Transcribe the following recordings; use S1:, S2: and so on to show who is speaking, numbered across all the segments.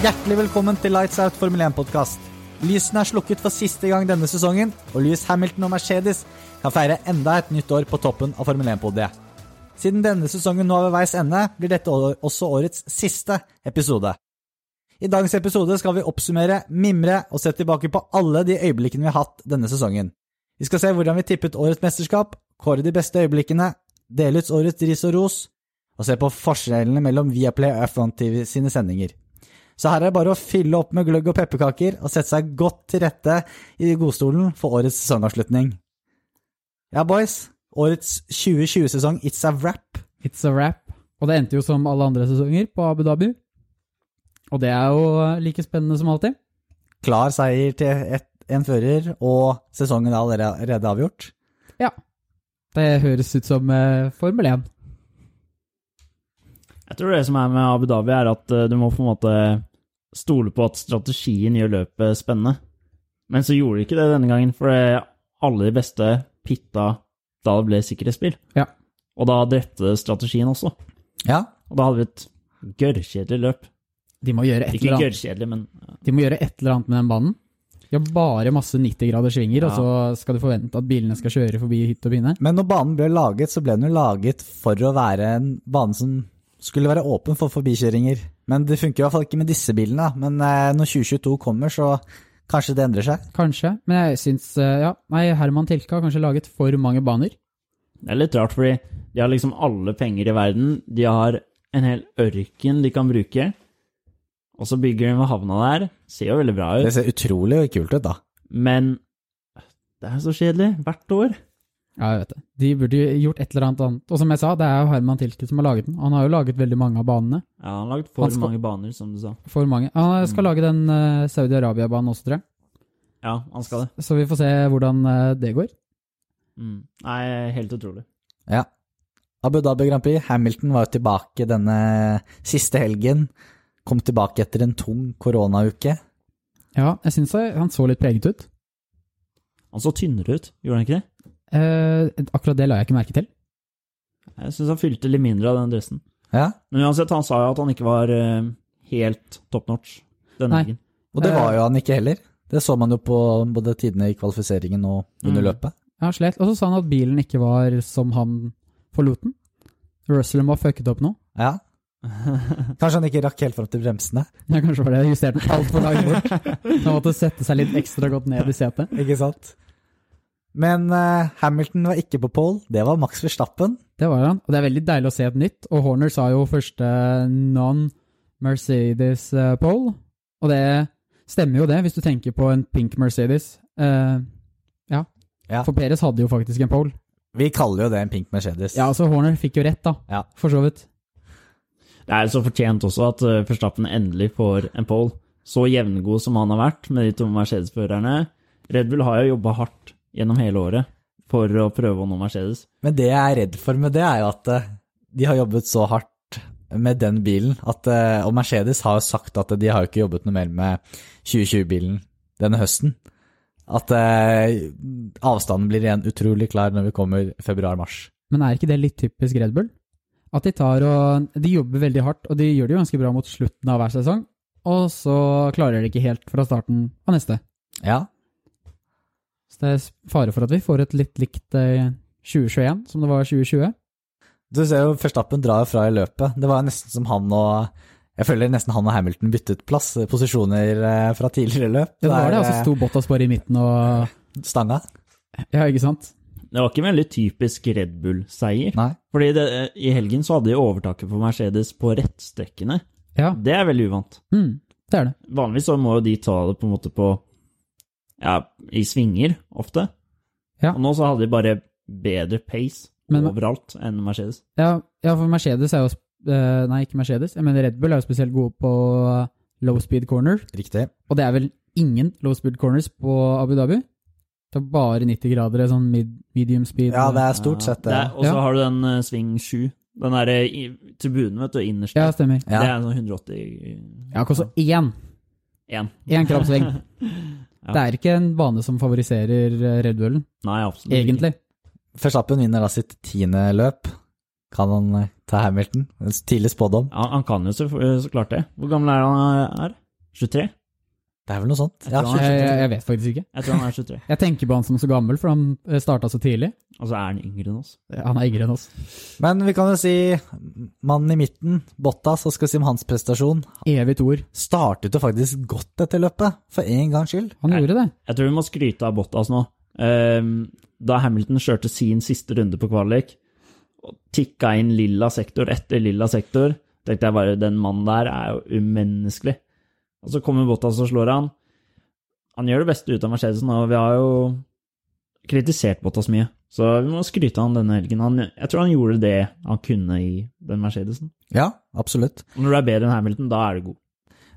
S1: Hjertelig velkommen til Lights Out Formel 1-podkast. Lysene er slukket for siste gang denne sesongen, og Lewis Hamilton og Mercedes kan feire enda et nytt år på toppen av Formel 1-podiet. Siden denne sesongen nå er ved veis ende, blir dette år- også årets siste episode. I dagens episode skal vi oppsummere, mimre og se tilbake på alle de øyeblikkene vi har hatt denne sesongen. Vi skal se hvordan vi tippet årets mesterskap, kåre de beste øyeblikkene, dele ut årets ris og ros, og se på forskjellene mellom Viaplay og F1 TV sine sendinger. Så her er det bare å fylle opp med gløgg og pepperkaker og sette seg godt til rette i godstolen for årets sesongavslutning. Ja, boys. Årets 2020-sesong, it's a wrap.
S2: It's a wrap. Og det endte jo som alle andre sesonger på Abu Dhabi. Og det er jo eh, like spennende som alltid.
S1: Klar seier til et, en fører, og sesongen er allerede avgjort.
S2: Det høres ut som eh, Formel 1.
S3: Jeg tror det som er med Abu Dhabi, er at eh, du må på en måte stole på at strategien gjør løpet spennende. Men så gjorde de ikke det denne gangen, for eh, alle de beste pitta da det ble sikkerhetsbil.
S2: Ja.
S3: Og da drepte det strategien også.
S1: Ja,
S3: Og da hadde vi et gørrkjedelig løp.
S2: De må gjøre et
S3: Ikke
S2: eller annet,
S3: gørrkjedelig, men
S2: de må gjøre et eller annet med den banen. De har bare masse 90-graders svinger, og
S3: Ja.
S2: så skal du forvente at bilene skal kjøre forbi hytt og pine.
S1: Men når banen ble laget, så ble den jo laget for å være en bane som skulle være åpen for forbikjøringer. Men det funker i hvert fall ikke med disse bilene. da. Men eh, når 2022 kommer, så kanskje det endrer seg.
S2: Kanskje, men jeg syns eh, Ja, nei, Herman Tilke har kanskje laget for mange baner.
S3: det er litt rart, fordi de har liksom alle penger i verden. De har en hel ørken de kan bruke. Og så bygger de ved havna der. Ser jo veldig bra
S1: Det
S3: ut,
S1: ser utrolig kult ut, da.
S3: men det er så kjedelig hvert år.
S2: Ja, jeg vet det. De burde jo gjort et eller annet annet. Og som jeg sa, det er jo Herman Tilke som har laget den. Han har jo laget veldig mange av banene.
S3: Ja, han har lagd for
S2: Han skal-
S3: mange baner, som du sa.
S2: For mange. Han
S3: Mm.
S2: skal lage den eh, Saudi-Arabia-banen også, tror jeg.
S3: Ja, han skal det.
S2: Så vi får se hvordan eh, det går.
S3: Mm. Nei, helt utrolig.
S1: Ja. Abu Dhabi Grand Prix, Hamilton var jo tilbake denne siste helgen. Kom tilbake etter en tung koronauke.
S2: Ja, jeg syns han så litt preget ut.
S3: Han så tynnere ut, gjorde han ikke det?
S2: Eh, akkurat det la jeg ikke merke til.
S3: Jeg syns han fylte litt mindre av den dressen.
S1: Ja.
S3: Men uansett, han sa jo at han ikke var eh, helt top notch denne
S2: Nei.
S3: helgen.
S1: Og det var jo han ikke heller. Det så man jo på både tidene i kvalifiseringen og under
S3: Mm.
S1: løpet.
S2: Han slet, og så sa han at bilen ikke var som han forlot den. Russell må ha fucket opp nå.
S1: Ja. Kanskje han ikke rakk helt fram til bremsene.
S2: Ja, kanskje var det. Jeg Justerte den altfor langt bort. Han måtte sette seg litt ekstra godt ned i setet.
S1: Ikke sant? Men eh, Hamilton var ikke på pole, det var Max Verstappen.
S2: Det var han. Og det er veldig deilig å se et nytt. Og Horner sa jo første non-Mercedes eh, pole. Og det stemmer jo det, hvis du tenker på en pink Mercedes. Eh, ja.
S1: Ja.
S2: For Perez hadde jo faktisk en pole.
S1: Vi kaller jo det en pink Mercedes.
S2: Ja, altså Horner fikk jo rett, da.
S1: Ja.
S2: For så vidt.
S3: Det er så fortjent også at eh, Verstappen endelig får en pole. Så jevngod som han har vært med de to Mercedes-førerne. Red Bull har jo jobba hardt gjennom hele året for å prøve å nå Mercedes.
S1: Men det jeg er redd for med det, er jo at eh, de har jobbet så hardt med den bilen at eh, Og Mercedes har jo sagt at de har jo ikke jobbet noe mer med 2020-bilen denne høsten. At eh, avstanden blir igjen utrolig klar når vi kommer februar-mars.
S2: Men er ikke det litt typisk Red Bull? At de tar og De jobber veldig hardt, og de gjør det jo ganske bra mot slutten av hver sesong. Og så klarer de ikke helt fra starten av neste.
S1: Ja.
S2: Så det er fare for at vi får et litt likt eh, 2021 som det var 2020.
S1: Du ser jo Verstappen drar jo fra i løpet. Det var jo nesten som han og Jeg føler nesten han og Hamilton byttet plass, posisjoner eh, fra tidligere løp.
S2: Det var det,
S1: er,
S2: altså
S1: eh,
S2: sto Bottas bare i midten og
S1: Stanga?
S2: Ja, ikke sant?
S3: Det var ikke en veldig typisk Red Bull-seier.
S1: Nei.
S3: Fordi det, i helgen så hadde de overtaket på Mercedes på rettstrekkene.
S2: Ja.
S3: Det er veldig uvant.
S2: Mm, det er det.
S3: Vanligvis så må jo de ta det på en måte på Ja, i svinger, ofte.
S2: Ja.
S3: Og nå så hadde de bare bedre pace
S2: Men-
S3: overalt enn Mercedes.
S2: Ja, ja for Mercedes er jo sp- eh, Nei, ikke Mercedes. Jeg mener Red Bull er jo spesielt gode på eh, low speed corner.
S1: Riktig.
S2: Og det er vel ingen low speed corners på Abu Dhabi? Det er bare 90 grader, sånn mid, medium speed.
S1: Ja, det er stort sett eh, det.
S3: det. er- Og så
S2: Ja.
S3: har du den eh, sving sju. Den derre i- tribunen, vet du, innerst.
S2: Ja, stemmer.
S3: Det
S1: Ja.
S3: er sånn 181.
S2: Ja, koster én, én krabbsving.
S3: Ja.
S2: Det er ikke en bane som favoriserer eh, Red Bullen,
S3: Nei, absolutt ikke.
S2: egentlig.
S1: Verstappen vinner da sitt tiende løp. Kan han eh, ta Hamilton? En tidlig spådom.
S3: eh, Ja, han kan jo så, så klart det. Hvor gammel er han her? 23?
S1: Det er vel noe sånt. Ja,
S3: tror han
S1: 23.
S2: Jeg, jeg, jeg vet faktisk ikke.
S3: Jeg tror han er 23.
S2: Jeg tenker på han som så gammel, for han starta så tidlig.
S3: Og så er han yngre enn oss.
S2: Han er yngre enn oss.
S1: Men vi kan jo si mannen i midten, Bottas, og skal si om hans prestasjon.
S2: Evig toer.
S1: Startet jo faktisk godt dette løpet, for en gangs skyld.
S2: Han gjorde det.
S3: Jeg tror vi må skryte av Bottas nå. Ehm, Da Hamilton kjørte sin siste runde på kvalik, og tikka inn lilla sektor etter lilla sektor, tenkte jeg bare den mannen der er jo umenneskelig. Og så kommer Bottas og slår han. Han gjør det beste ut av Mercedesen, og vi har jo kritisert Bottas mye. Så vi må skryte av han denne helgen. Han, jeg tror han gjorde det han kunne i den Mercedesen.
S1: Ja, absolutt.
S3: Og når du er bedre enn Hamilton, da er du god.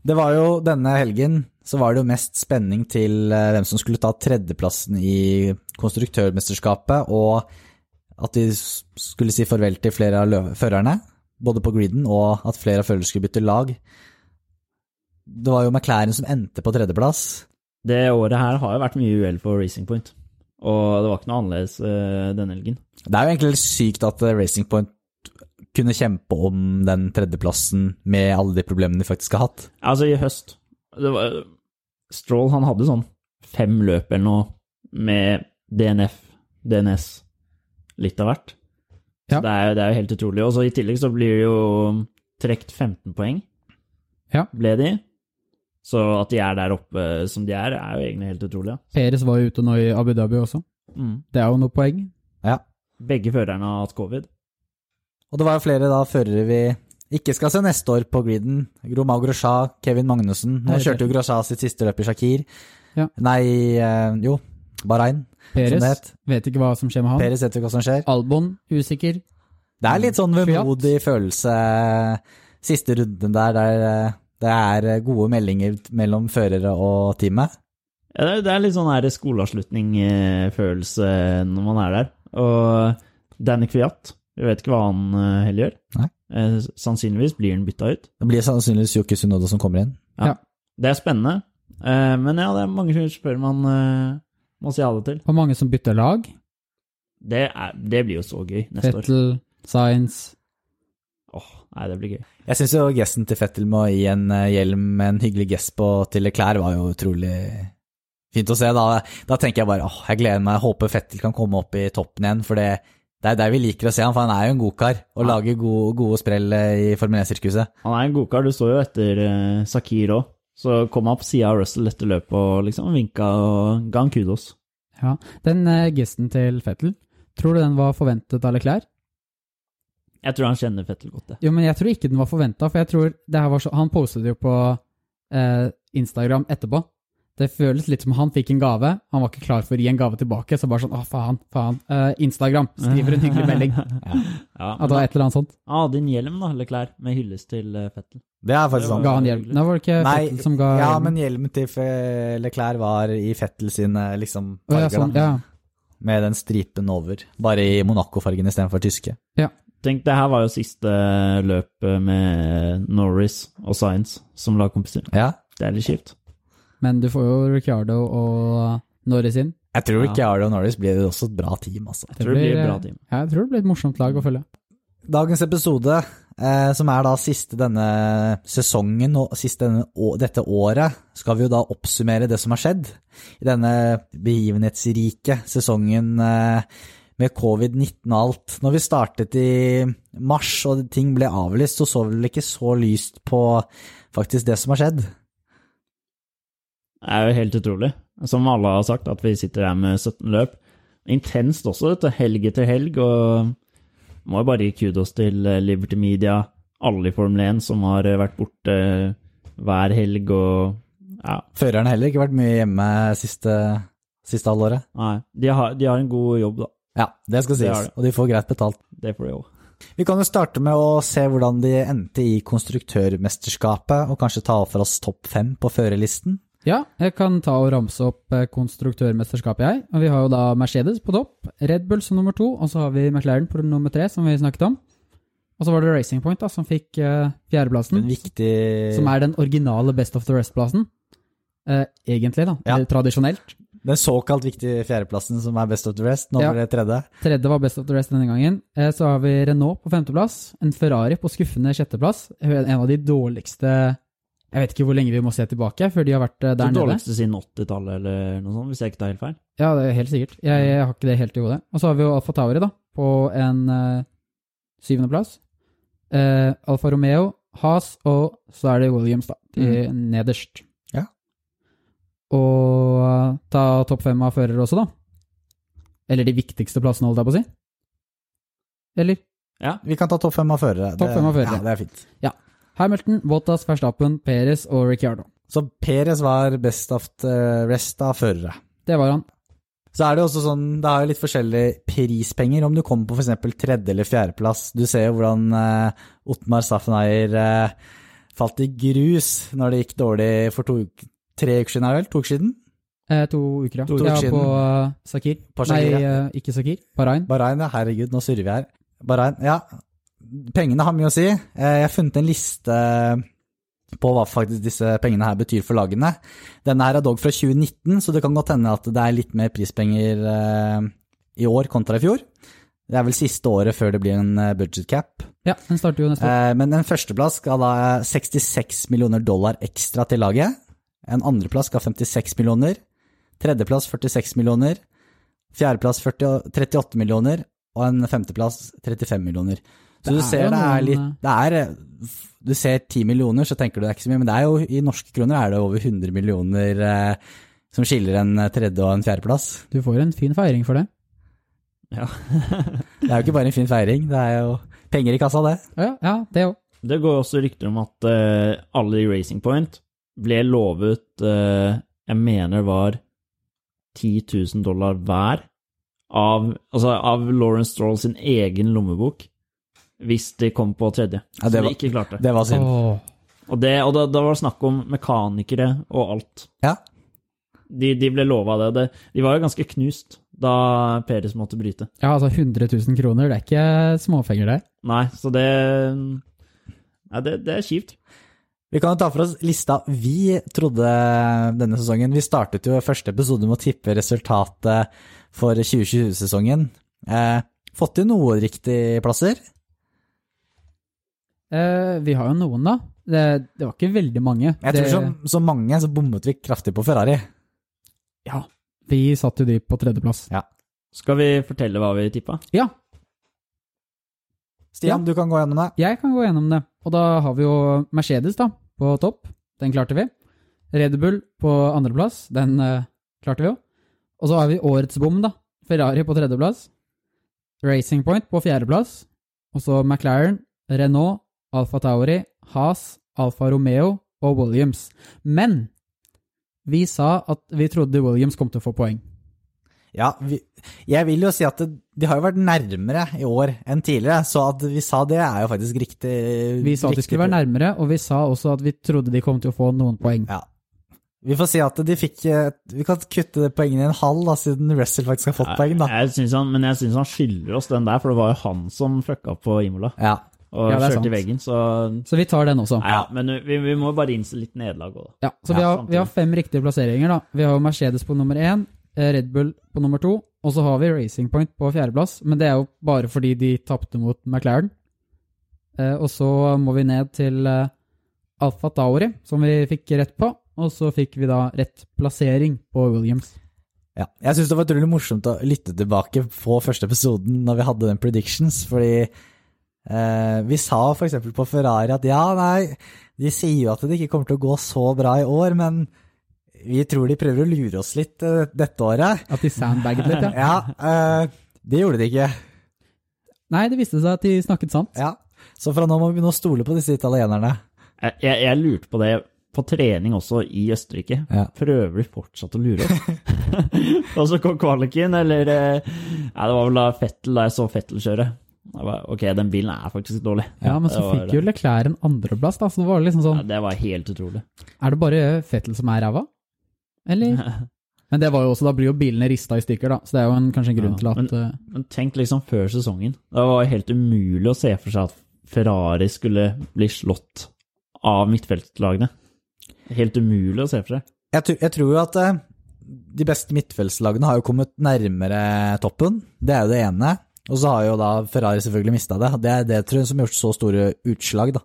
S1: Det var jo denne helgen så var det jo mest spenning til eh, hvem som skulle ta tredjeplassen i konstruktørmesterskapet, og at de s- skulle si farvel til flere av lø- førerne, både på griden, og at flere av førerne skulle bytte lag. Det var jo McLaren som endte på tredjeplass.
S3: Det året her har jo vært mye uhell for Racing Point, og det var ikke noe annerledes eh, denne helgen.
S1: Det er jo egentlig litt sykt at eh, Racing Point kunne kjempe om den tredjeplassen med alle de problemene de faktisk har hatt.
S3: Altså, i høst det var, Stroll han hadde sånn fem løp eller noe med DNF, DNS, litt av hvert.
S2: Ja.
S3: Så det, er, jo- det er jo helt utrolig. Og så i tillegg så blir det jo trukket 15 poeng,
S2: Ja.
S3: ble de. Så at de er der oppe som de er, er jo egentlig helt utrolig. Ja. Mm.
S2: Peres var jo ute nå i Abu Dhabi også. Det er jo noe poeng.
S1: Ja.
S3: Begge førerne har hatt covid.
S1: Og det var jo flere da førere vi ikke skal se neste år på griden. Romao Grosja, Kevin Magnussen. Nå
S2: Nei, det-
S1: kjørte jo Grosja sitt siste løp i Shakir.
S2: Ja.
S1: Nei, eh, jo, Bahrain. Som det
S2: Peres
S1: het.
S2: vet ikke hva som skjer med han.
S1: Peres vet jo hva som skjer.
S2: Albon usikker.
S1: Det er litt sånn vemodig følelse eh, siste runden der, der eh, det er gode meldinger mellom førere og teamet.
S3: Ja, det, er, det er litt sånn her skoleavslutning-følelse eh, når man er der. Og Danny Kviat, vi vet ikke hva han eh, heller gjør.
S1: Nei.
S3: Eh, Sannsynligvis blir han bytta ut.
S1: Det blir sannsynligvis Yuki Sunoda som kommer inn.
S3: Det er spennende, Eh, men ja, det er mange som spør man eh, må si ha det til.
S2: Og mange som bytter lag.
S3: Det, er, det blir jo så gøy neste år.
S2: Fettel, Science
S3: Åh, nei, det blir gøy.
S1: Jeg syns jo gesten til Fettel med å gi en eh, hjelm med en hyggelig gest på til klær var jo utrolig fint å se. Da, da tenker jeg bare åh, jeg gleder meg, jeg håper Fettel kan komme opp i toppen igjen, for det, det er der vi liker å se han, for han er jo en godkar og
S3: Ja.
S1: lager gode, gode sprell eh, i Formel 1-sirkuset.
S3: Han er en godkar. Du så jo etter eh, Sakir òg. Så kom han på sida av Russell etter løpet og liksom vinka og ga han kudos.
S2: Ja. Den eh, gesten til Fettel, tror du den var forventet av Leclerc?
S3: Jeg tror han kjenner Fettel godt, det.
S2: Jo, men jeg tror ikke den var forventa, for jeg tror det her var så Han postet det jo på eh, Instagram etterpå. Det føles litt som han fikk en gave, han var ikke klar for å gi en gave tilbake, så bare sånn å faen, faen. Eh, Instagram skriver en hyggelig melding.
S3: Ja,
S2: At det var et eller annet sånt.
S3: Han hadde en Ah, hjelm, da, eller klær, med hyllest til eh, Fettel.
S1: Det er
S3: Det
S1: faktisk
S3: var-
S1: sånn.
S2: Ga han hjelm? Nei, var det ikke
S1: Nei,
S2: Fettel som ga
S1: Ja,
S2: hjelmen?
S1: men hjelmen til Fe- Leclerc var i Fettel sine liksom,
S2: Å, ja,
S1: farger,
S2: sånn,
S1: da,
S2: ja.
S1: med den stripen over. Bare i Monaco-fargen istedenfor tyske.
S3: Tenk, det her var jo siste løp med eh, Norris og Science som lagkompiser.
S1: Ja.
S3: Det er litt kjipt.
S2: Men du får jo Ricardo og Norris inn.
S1: Jeg tror
S3: Ja.
S1: ikke Arlo Norris blir også et bra team, altså.
S3: Jeg tror det blir et bra
S2: eh,
S3: team.
S2: Ja, jeg tror det blir et morsomt lag å følge.
S1: Dagens episode, eh, som er da siste denne sesongen og siste denne, å- dette året, skal vi jo da oppsummere det som har skjedd i denne begivenhetsrike sesongen eh, med covid-19 og alt. Når vi startet i mars og ting ble avlyst, så så vi vel ikke så lyst på faktisk det som har skjedd.
S3: Det er jo helt utrolig. Som alle har sagt, at vi sitter her med 17 løp. Intenst også, dette. Helg etter helg. Og må jo bare gi kudos til eh, Liberty Media, alle i Formel 1 som har eh, vært borte hver helg og ja,
S1: Førerne har heller ikke vært mye hjemme siste, siste halvåret.
S3: nei. De har, de har en god jobb, da.
S1: Ja, det skal
S3: Det
S1: sies,
S3: har de.
S1: og de får greit betalt.
S3: Det får de òg.
S1: Vi kan jo starte med å se hvordan de endte i konstruktørmesterskapet, og kanskje ta for oss topp fem på førerlisten.
S2: Ja, jeg kan ta og ramse opp eh, konstruktørmesterskapet, jeg. Og vi har jo da Mercedes på topp, Red Bull som nummer to, og så har vi McLaren på nummer tre, som vi snakket om. Og så var det Racing Point, da, som fikk eh,
S1: En
S2: fjerdeplassen,
S1: viktig
S2: som er den originale Best of the Rest-plassen. Eh, egentlig, da.
S1: Ja.
S2: Eller tradisjonelt.
S1: Den såkalt viktige fjerdeplassen som er best of the rest. Nå
S2: Ja.
S1: blir det tredje.
S2: Tredje var Best of the Rest denne gangen. Eh, så har vi Eh, Renault på femteplass, en Ferrari på skuffende sjetteplass, en av de dårligste Jeg vet ikke hvor lenge vi må se tilbake før de har vært eh,
S3: Det
S2: der nede.
S3: dårligste siden 80-tallet eller noe sånt, hvis jeg ikke tar helt feil.
S2: Ja, det er helt sikkert. Jeg,
S1: Mm.
S2: jeg har ikke det helt i hodet. Og så har vi jo Alfa Tauri, da, på en eh, syvendeplass. Eh, Alfa Romeo, Has, og så er det Williams, da, de nederst.
S1: Mm. Ja.
S2: Og eh, ta topp fem av førere også, da. Eller de viktigste plassene, holdt jeg på å si. Eller?
S1: Vi kan ta topp fem av førere.
S2: Topp
S1: Det-
S2: fem av førere.
S1: Ja, det er fint.
S2: Hamilton, Bottas, Verstappen, Perez og Ricciardo.
S1: Så Perez var best av eh, rest av førere.
S2: Det var han.
S1: Så er det jo også sånn, det er jo litt forskjellige prispenger om du kommer på for eksempel tredje eller fjerdeplass. Du ser jo hvordan eh, Otmar Staffeneier eh, falt i grus når det gikk dårlig for to, uk- tre uker siden, er det vel? To uker siden?
S2: Eh, to uker, ja.
S1: To uker
S2: ja,
S1: siden.
S2: På eh, Sakir.
S1: På Shakir,
S2: Nei,
S1: ja.
S2: eh, ikke Sakir. Bahrain.
S1: Bahrain, ja. Herregud, nå surrer vi her. Bahrain, ja. Pengene har mye å si. Eh, Jeg har funnet en liste eh, på hva faktisk disse pengene her betyr for lagene. Denne her er dog fra 2019, så det kan godt hende at det er litt mer prispenger eh, i år kontra i fjor. Det er vel siste året før det blir en eh, budget cap.
S2: Ja, den starter jo neste år.
S1: Eh, Men en førsteplass skal da 66 millioner dollar ekstra til laget. En andreplass skal 56 millioner. Tredjeplass 46 millioner. Fjerdeplass 40, 38 millioner. Og en femteplass 35 millioner. Så
S2: Det
S1: du
S2: er
S1: ser
S2: jo
S1: det er
S2: noen,
S1: litt Det er eh, f- Du ser 10 millioner, så tenker du det er ikke så mye, men det er jo i norske kroner er det over 100 millioner eh, som skiller en tredje- og en fjerdeplass.
S2: Du får en fin feiring for det.
S1: Det er jo ikke bare en fin feiring, det er jo penger i kassa, det.
S2: Ja, ja det òg.
S3: Det går også rykter om at eh, alle i Racing Point ble lovet eh, Jeg mener det var 10 000 dollar hver av, altså av Lauren Stroll sin egen lommebok hvis de kom på tredje.
S1: Ja, det
S3: så
S1: var-
S3: de ikke klarte.
S1: Det var synd.
S2: Åh.
S3: Og, det, og da, da var det snakk om mekanikere og alt.
S1: Ja.
S3: De, de ble lova det. det. De var jo ganske knust da Peres måtte bryte.
S2: Ja, altså 100 000 kroner, det er ikke småpenger der.
S3: Nei, så det mm, Nei, det, det er kjipt.
S1: Vi kan jo ta for oss lista vi trodde denne sesongen. Vi startet jo i første episode med å tippe resultatet for 2020-sesongen. Eh, fått til noe riktig plasser.
S2: Eh, vi har jo noen, da. Det, det var ikke veldig mange.
S1: Jeg
S2: det,
S1: tror sånn- som, som mange så bommet vi kraftig på Ferrari.
S2: Ja, vi satt jo de på tredjeplass.
S3: Skal vi fortelle hva vi tippa?
S2: Ja,
S1: Stian, du kan gå gjennom det.
S2: jeg kan gå gjennom det. Og da har vi jo Mercedes da, på topp. Den klarte vi. Red Bull på andreplass. Den eh, klarte vi jo. Og så har vi årets bom, da. Ferrari på tredjeplass. Racing Point på fjerdeplass. Og så McLaren, Renault, Alfa Tauri, Haas, Alfa Romeo og Williams. Men vi sa at vi trodde Williams kom til å få poeng.
S1: Ja, vi, jeg vil jo si at det, de har jo vært nærmere i år enn tidligere, så at vi sa det er jo faktisk riktig.
S2: Vi sa at de
S1: riktig
S2: skulle
S1: på-
S2: være nærmere, og vi sa også at vi trodde de kom til å få noen poeng.
S1: Ja. Vi får si at de fikk eh, Vi kan kutte poengene i en halv, da, siden Russell faktisk har fått poeng, da.
S3: Jeg synes han, men jeg syns han skylder oss den der, for det var jo han som fucka på Imola
S1: Ja.
S3: og
S2: Ja, det er
S3: kjørte
S2: sant.
S3: i veggen, så
S2: Så vi tar den også.
S3: Nei, ja, men vi, vi må jo bare innse litt nederlag òg, da.
S2: Ja, så
S1: Ja,
S2: vi, har,
S3: samtidig.
S2: vi har fem riktige plasseringer. da. Vi har jo Mercedes på nummer én, eh, Red Bull på nummer to, og så har vi Racing Point på fjerdeplass. Men det er jo bare fordi de tapte mot McLaren. Eh, Og så må vi ned til eh, Alfa Tauri, som vi fikk rett på. Og så fikk vi da rett plassering på Williams.
S1: Ja. Jeg syns det var utrolig morsomt å lytte tilbake på første episoden når vi hadde den predictions, fordi eh, vi sa f.eks. på Ferrari at ja, nei, de sier jo at det ikke kommer til å gå så bra i år, men vi tror de prøver å lure oss litt eh, dette året.
S2: At de sandbagget litt, ja.
S1: Ja, eh, det gjorde de ikke.
S2: Nei, det viste seg at de snakket sant.
S1: Ja. Så fra nå må vi begynne å stole på disse italienerne.
S3: Jeg, jeg, jeg lurte på det på trening også i Østerrike.
S1: Ja.
S3: Prøver de fortsatt å lure oss? og så kom kvaliken, eller eh, Nei, det var vel da Fettel, da jeg så Fettel kjøre. Jeg bare, ok, den bilen er faktisk dårlig.
S2: Ja, Men så
S3: det var
S2: fikk jo Leclerc en andreplass, da, så det var liksom
S3: Ja,
S2: sånn
S3: det var helt utrolig.
S2: Er det bare Fettel som er ræva? Eller? Men det var jo også, da blir jo bilene rista i stykker, da. Så det er jo en, kanskje en grunn
S3: Ja,
S2: til at eh,
S3: Men tenk liksom før sesongen. Det var helt umulig å se for seg at Ferrari skulle bli slått av midtfeltlagene. Helt umulig å se for seg.
S1: Jeg, tr- jeg tror jo at eh, de beste midtfeldslagene har jo kommet nærmere toppen. Det er jo det ene. Og så har jo da Ferrari selvfølgelig mista det. Det er det tror jeg, som har gjort så store utslag, da.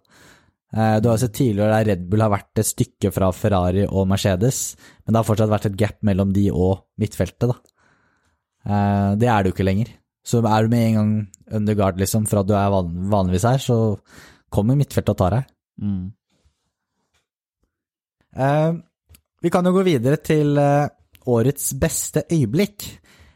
S1: Eh, Du har jo sett tidligere der Red Bull har vært et stykke fra Ferrari og Mercedes, men det har fortsatt vært et gap mellom de og midtfeltet, da. Eh, Det er du ikke lenger. Så er du med en gang under guard, liksom, fra du er van vanligvis her, så kommer midtfeltet og tar deg.
S3: Mm.
S1: Eh, vi kan jo gå videre til eh, årets beste øyeblikk.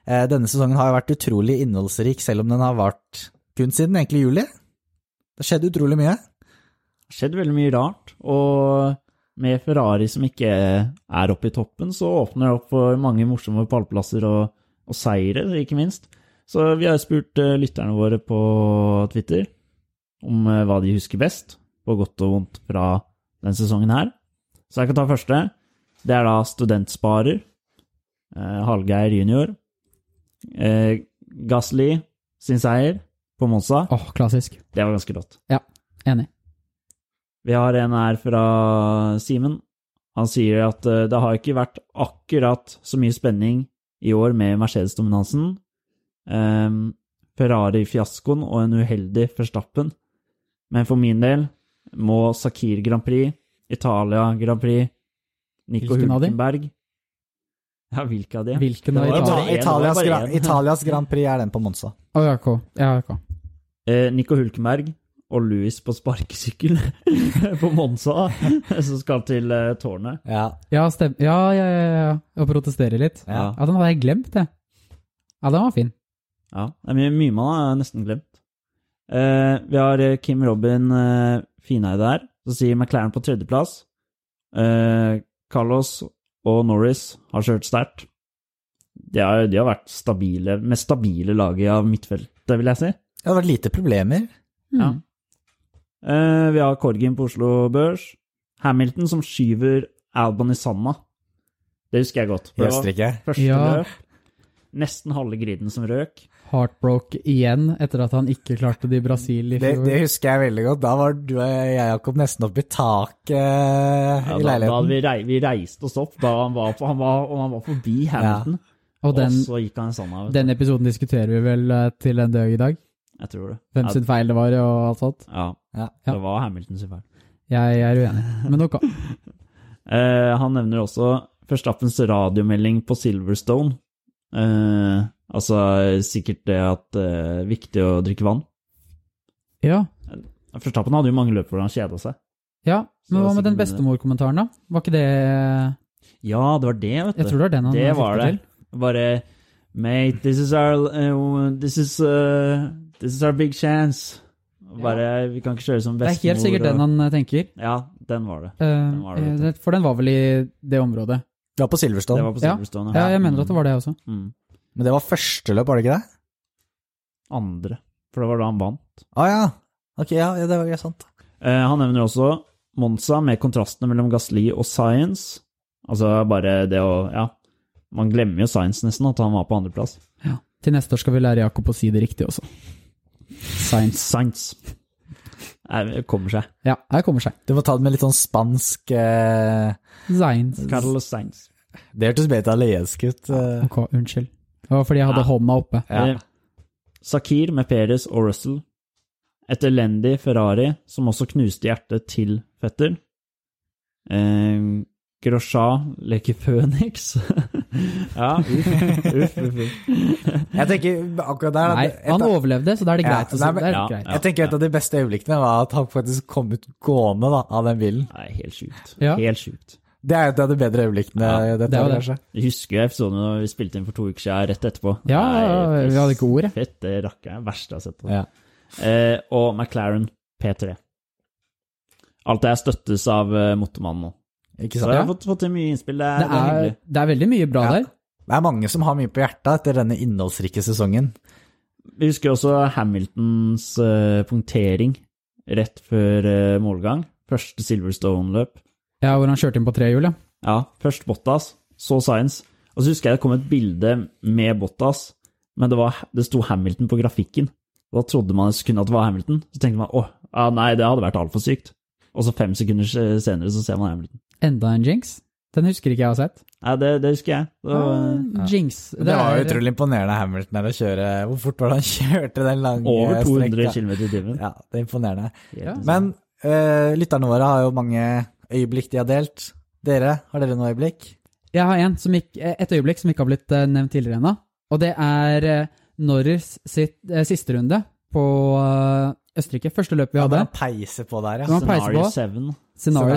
S1: Eh, denne sesongen har jo vært utrolig innholdsrik, selv om den har vart kun siden egentlig juli. Det har skjedd utrolig mye.
S3: Det har skjedd veldig mye rart, og med Ferrari som ikke er oppe i toppen, så åpner det opp for mange morsomme pallplasser og, og seire, ikke minst. Så vi har spurt eh, lytterne våre på Twitter om eh, hva de husker best, på godt og vondt, fra denne sesongen her. Så jeg kan ta første. Det er da studentsparer. Eh, Hallgeir junior. Eh, Gasli sin seier på Monza.
S2: Åh, klassisk.
S3: Det var ganske rått.
S2: Enig.
S3: Vi har en her fra Simen. Han sier at eh, det har ikke vært akkurat så mye spenning i år med Mercedes-dominansen. Ehm, Ferrari-fiaskoen og en uheldig Verstappen. Men for min del må Sakir Grand Prix, Italia Grand Prix, Nico
S2: Hvilken av de?
S3: Hulkenberg Ja, hvilke av de?
S2: Hvilken av
S3: Det var jo
S1: Ita
S2: Italia?
S3: bare- en, det
S1: Italias,
S3: var bare
S1: Gra
S3: en.
S1: Italias Grand Prix er den på Monza.
S2: Å, ja, ok. Ja, ok.
S3: Eh, Nico Hulkenberg og Louis på sparkesykkel på Monza, som skal til eh, tårnet.
S1: Ja.
S2: ja, stem... ja, ja, ja, ja. Og protestere litt.
S1: ja.
S2: Ja, den hadde jeg glemt, jeg. Ja, den var fin.
S3: Ja, det er mye, mye man har nesten glemt. Eh, vi har eh, Kim Robin eh, Fineide her, som sier McLaren på tredjeplass. Eh, Carlos og Norris har kjørt sterkt. De, har- de har vært stabile, mest stabile laget av midtfeltet, vil jeg si.
S1: Det har vært lite problemer.
S2: Mm.
S3: Ja. Eh, vi har Korgin på Oslo Børs. Hamilton som skyver Albon i sanda. Det husker jeg godt. for
S1: I
S3: det var
S1: Østerrike.
S3: Første
S2: Ja.
S3: løp. Nesten halve griden som røk.
S2: Heartbroke igjen etter at han ikke klarte det i Brasil i
S1: Det,
S2: fjor.
S1: det husker jeg veldig godt. Da var du og jeg, Jakob, nesten oppe i taket eh, i
S3: Ja, da, da hadde
S1: leiligheten.
S3: vi, rei, vi reiste oss opp da han var, på, han var, og han var forbi Hamilton.
S2: Og den,
S3: og så gikk han sånn av.
S2: den episoden diskuterer vi vel eh, til en dag i dag.
S3: Jeg tror det.
S2: Hvem sin feil det var og alt sånt.
S3: Ja,
S1: Ja.
S3: det var Hamilton sin feil.
S2: Jeg er uenig, men ok.
S3: Eh, han nevner også Verstappens radiomelding på Silverstone. Eh, altså sikkert det at det er viktig å drikke vann.
S2: Ja,
S3: Verstappen hadde jo mange løp hvor han kjeda seg.
S2: ja. men
S3: Så
S2: hva med den
S3: sikkert-
S2: bestemorkommentaren, da? Var ikke det eh,
S3: Ja, det var det, vet du.
S2: Jeg tror det var den han
S3: det
S2: siktet
S3: var det.
S2: til.
S3: Bare Mate, this is our eh, This is, eh, this is our big chance. Bare, Vi kan ikke kjøre som
S2: Det er
S3: bestemor.
S2: helt sikkert
S3: og-
S2: den han eh, tenker.
S3: Ja, den var det.
S2: Eh,
S3: var det,
S2: eh,
S3: vet du.
S2: det- for den var vel i det området.
S1: Det var på Silverstone.
S3: Det var på
S2: Sånn. Ja.
S3: Silverstone.
S2: Ja, jeg mener at det var det også.
S3: Mm.
S1: Men det var første løp, var det ikke det?
S3: Andre, for det var da han vant.
S1: Å ja. Ok, ja, ja, det var ja, sant.
S3: Eh, han nevner også Monza med kontrastene mellom Gasli og Science. Altså bare det å Ja, man glemmer jo Science nesten, at han var på andreplass.
S2: Ja. Til neste år skal vi lære Jakob å si det riktig også. Science.
S3: Science. Nei, det kommer seg.
S2: Ja, her kommer seg.
S1: Du må ta det med litt sånn spansk eh,
S2: Science.
S3: Carlos Sainz.
S1: Det hørtes mer italiensk ut. eh.
S2: Ok, unnskyld. Det var fordi jeg hadde
S3: Ja.
S2: hånda oppe.
S1: Ja.
S3: Eh, Sakir med Perez og Russell. Et elendig Ferrari som også knuste hjertet til fetter. Eh, Grosjean leker Phoenix. ja, uff, uff, uff. uff.
S1: Jeg tenker akkurat der
S2: Nei,
S1: at- et
S2: han
S1: av-
S2: overlevde, så da er det
S1: Ja,
S2: greit å si.
S1: nei, men-
S2: Det er
S3: Ja.
S2: greit.
S1: Jeg tenker Et av de beste øyeblikkene var at han faktisk kom ut gående da, av den bilen.
S3: Nei, helt sjukt.
S2: Ja.
S3: Helt sjukt.
S1: Det er et av de bedre øyeblikkene.
S3: Ja,
S1: dette altså.
S2: det var
S1: året,
S2: det.
S1: kanskje.
S3: Jeg husker jo episoden da vi spilte inn for to uker siden, rett etterpå.
S2: Ja, ja, ja, vi hadde ikke ord, jeg.
S3: Fette rakkeren. Verste jeg har sett.
S1: Ja.
S3: Eh, og McLaren P3. Alt det her støttes av eh, motormannen nå.
S1: Ikke
S3: Så
S1: sant?
S3: jeg har fått, fått til mye innspill. Det er,
S2: Det
S3: det er
S2: er,
S3: hyggelig.
S2: det er veldig mye bra
S1: Ja.
S2: der.
S1: Det er mange som har mye på hjertet etter denne innholdsrike sesongen.
S3: Vi husker også Hamiltons eh, punktering rett før eh, målgang. Første Silverstone-løp.
S2: Ja, hvor han kjørte inn på trehjul, ja.
S3: Ja, først Bottas, så Science. Og så husker jeg det kom et bilde med Bottas, men det, var, det sto Hamilton på grafikken. Da trodde man kunne at det var Hamilton. Så tenkte man åh, ja, nei, det hadde vært altfor sykt. Og så fem sekunder se- senere så ser man Hamilton.
S2: Enda en jinx. Den husker ikke jeg har sett.
S3: Nei, det, det husker jeg. Det var, eh,
S2: Ah, Jinx.
S1: Det, var jo utrolig imponerende Hamilton her å kjøre Hvor fort var det han kjørte den lange
S3: over 200
S1: strekka?
S3: km i timen.
S1: Ja, det er imponerende.
S3: Helt
S2: Ja.
S3: insane.
S1: Men eh, lytterne våre har jo mange øyeblikk de har delt. Dere, har dere noe øyeblikk?
S2: Jeg har en som gikk, eh, et øyeblikk som ikke har blitt eh, nevnt tidligere ennå. Og det er eh, Norris sitt eh, siste runde på eh, Østerrike. Første løp vi
S1: Ja, det
S2: hadde.
S1: er peise på der,
S2: Ja.
S1: ja.
S2: man peiser
S3: Scenario
S2: på.
S3: 7.
S2: Scenario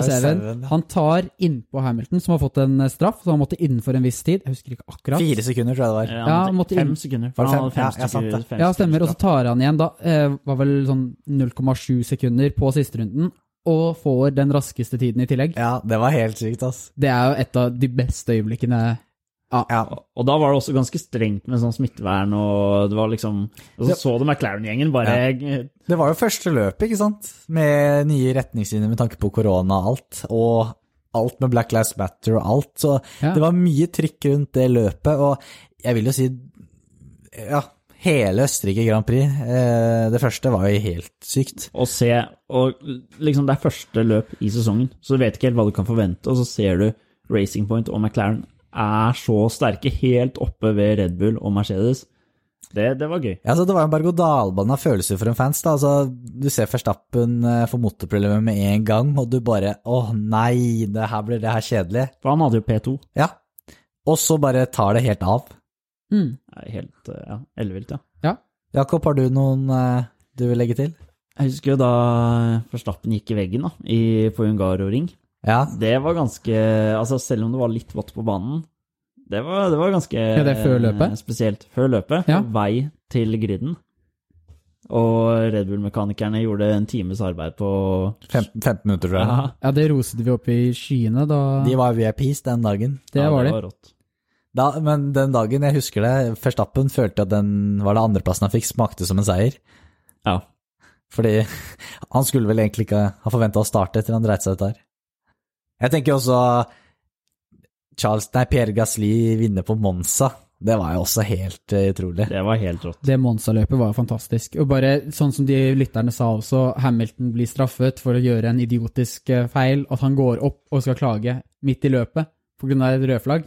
S1: Scenario
S2: 7.
S1: seven.
S2: Han tar innpå Hamilton, som har fått en eh, straff. Så han måtte innenfor en viss tid. Jeg husker ikke akkurat.
S1: Fire sekunder, tror jeg det var.
S3: Ja,
S2: Ja,
S3: han
S2: måtte
S3: måtte fem
S2: inn.
S1: Var
S3: sekunder. For
S1: det
S3: han hadde
S1: fem?
S3: fem
S1: Ja, ja, sant
S3: sekunder.
S1: det.
S3: Fem
S2: Ja, stemmer. Og så
S3: sekunder,
S2: tar han igjen, da. Eh, var vel sånn 0,7 sekunder på siste runden. Og får den raskeste tiden i tillegg.
S1: Ja, det var helt sykt, ass.
S2: Det er jo et av de beste øyeblikkene
S1: Ja.
S3: da. Og da var det også ganske strengt med sånn smittevern, og det var liksom Og så
S1: Det-
S3: så du McLaren-gjengen bare
S1: Det var jo første løpet, ikke sant? Med nye retningslinjer med tanke på korona og alt, og alt med Black Lives Matter og alt. Så
S2: Ja.
S1: det var mye trykk rundt det løpet, og jeg vil jo si ja, hele Østerrike Grand Prix. Eh, det første var jo helt sykt.
S3: å se Og liksom, det er første løp i sesongen, så du vet ikke helt hva du kan forvente, og så ser du Racing Point og McLaren er så sterke, helt oppe ved Red Bull og Mercedes. Det, det var gøy.
S1: Ja, så det var en berg-og-dal-bane av følelser for en fans. da, altså Du ser Verstappen eh, få motorproblemer med en gang, og du bare åh nei, det her blir det her kjedelig.
S3: For han hadde jo P2.
S1: Ja. Og så bare tar det helt av.
S2: mm.
S3: Nei, Helt eh, ja, ellevilt, ja.
S1: Jakob, har du noen eh, du vil legge til?
S3: Jeg husker jo da Forstappen gikk i veggen da, i, på Ungaroring.
S1: Ja.
S3: Det var ganske Altså, selv om det var litt vått på banen, det var, det var ganske
S2: det er før løpet?
S3: eh, spesielt. Før løpet,
S2: Ja.
S3: på vei til griden. Og Red Bull-mekanikerne gjorde en times arbeid på
S1: 15, 15 minutter, tror jeg.
S3: Ja,
S2: Ja, det roset vi opp i skyene da.
S1: De var VIPs den dagen.
S2: det
S3: ja,
S2: var de.
S3: rått.
S1: Da, men den dagen, jeg husker det, Verstappen følte at den var det andreplassen han fikk, smakte som en seier.
S3: Ja.
S1: Fordi han skulle vel egentlig ikke ha forventa å starte etter han dreit seg ut der. Jeg tenker også Charles, nei, Pierre Gasli vinner på Monza. Det var jo også helt eh, utrolig.
S3: Det var helt rått.
S2: Det Monza-løpet var fantastisk. Og bare sånn som de lytterne sa også, Hamilton blir straffet for å gjøre en idiotisk eh, feil, at han går opp og skal klage midt i løpet på grunn av et rødflagg.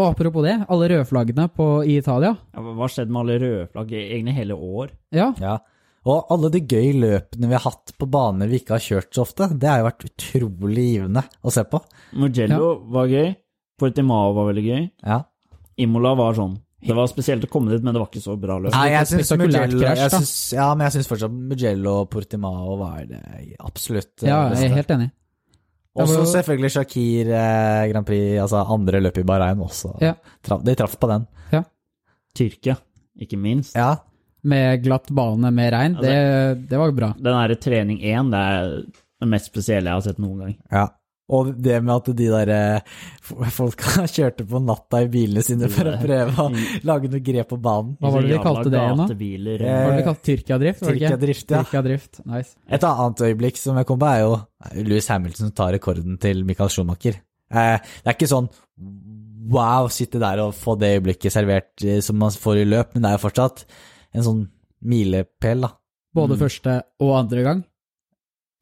S2: Og apropos det, alle rødflaggene på, i Italia.
S3: Ja, hva skjedde med alle røde flagg i- egentlig hele år?
S2: Ja,
S1: Ja. Og alle de gøy løpene vi har hatt på baner vi ikke har kjørt så ofte, det har jo vært utrolig givende å se på.
S3: Mugello var gøy. Portimao var veldig gøy.
S1: Ja.
S3: Imola var sånn. Det var spesielt å komme dit, men det var ikke så bra løp.
S1: Nei, jeg
S2: litt
S1: syns
S2: spektakulært
S1: Mugello
S2: krasj,
S1: jeg
S2: da.
S1: syns, Ja, men jeg syns fortsatt Mugello og Portimao var det absolutt eh,
S2: ja jeg
S1: beste.
S2: er helt enig.
S1: Og så
S2: Jeg var-
S1: selvfølgelig Shakir eh, Grand Prix, altså andre løp i Bahrain også.
S2: Ja.
S1: Traff- de traff på den.
S3: Tyrkia, ikke minst.
S1: Ja,
S2: Med glatt bane med regn, det, det var bra.
S3: Den derre trening 1, det er det mest spesielle jeg har sett noen gang.
S1: ja. Og det med at de der eh, f- folka kjørte på natta i bilene sine for å prøve å lage noe grep på banen.
S2: Hva var det de
S3: Jævla
S2: kalte det igjen da?
S3: gatebiler.
S1: Eh,
S2: Hva var det de kalte Tyrkia-drift? var det ikke?
S1: Tyrkia-drift, ja.
S2: Tyrkia-drift, nice.
S1: Et annet øyeblikk som jeg kom på, er jo Louis Hamilton som tar rekorden til Michael Schumacher. Eh, det er ikke sånn wow, sitte der og få det øyeblikket servert eh, som man får i løp, men det er jo fortsatt en sånn milepæl, da.
S2: Både
S3: Mm.
S2: første og andre gang.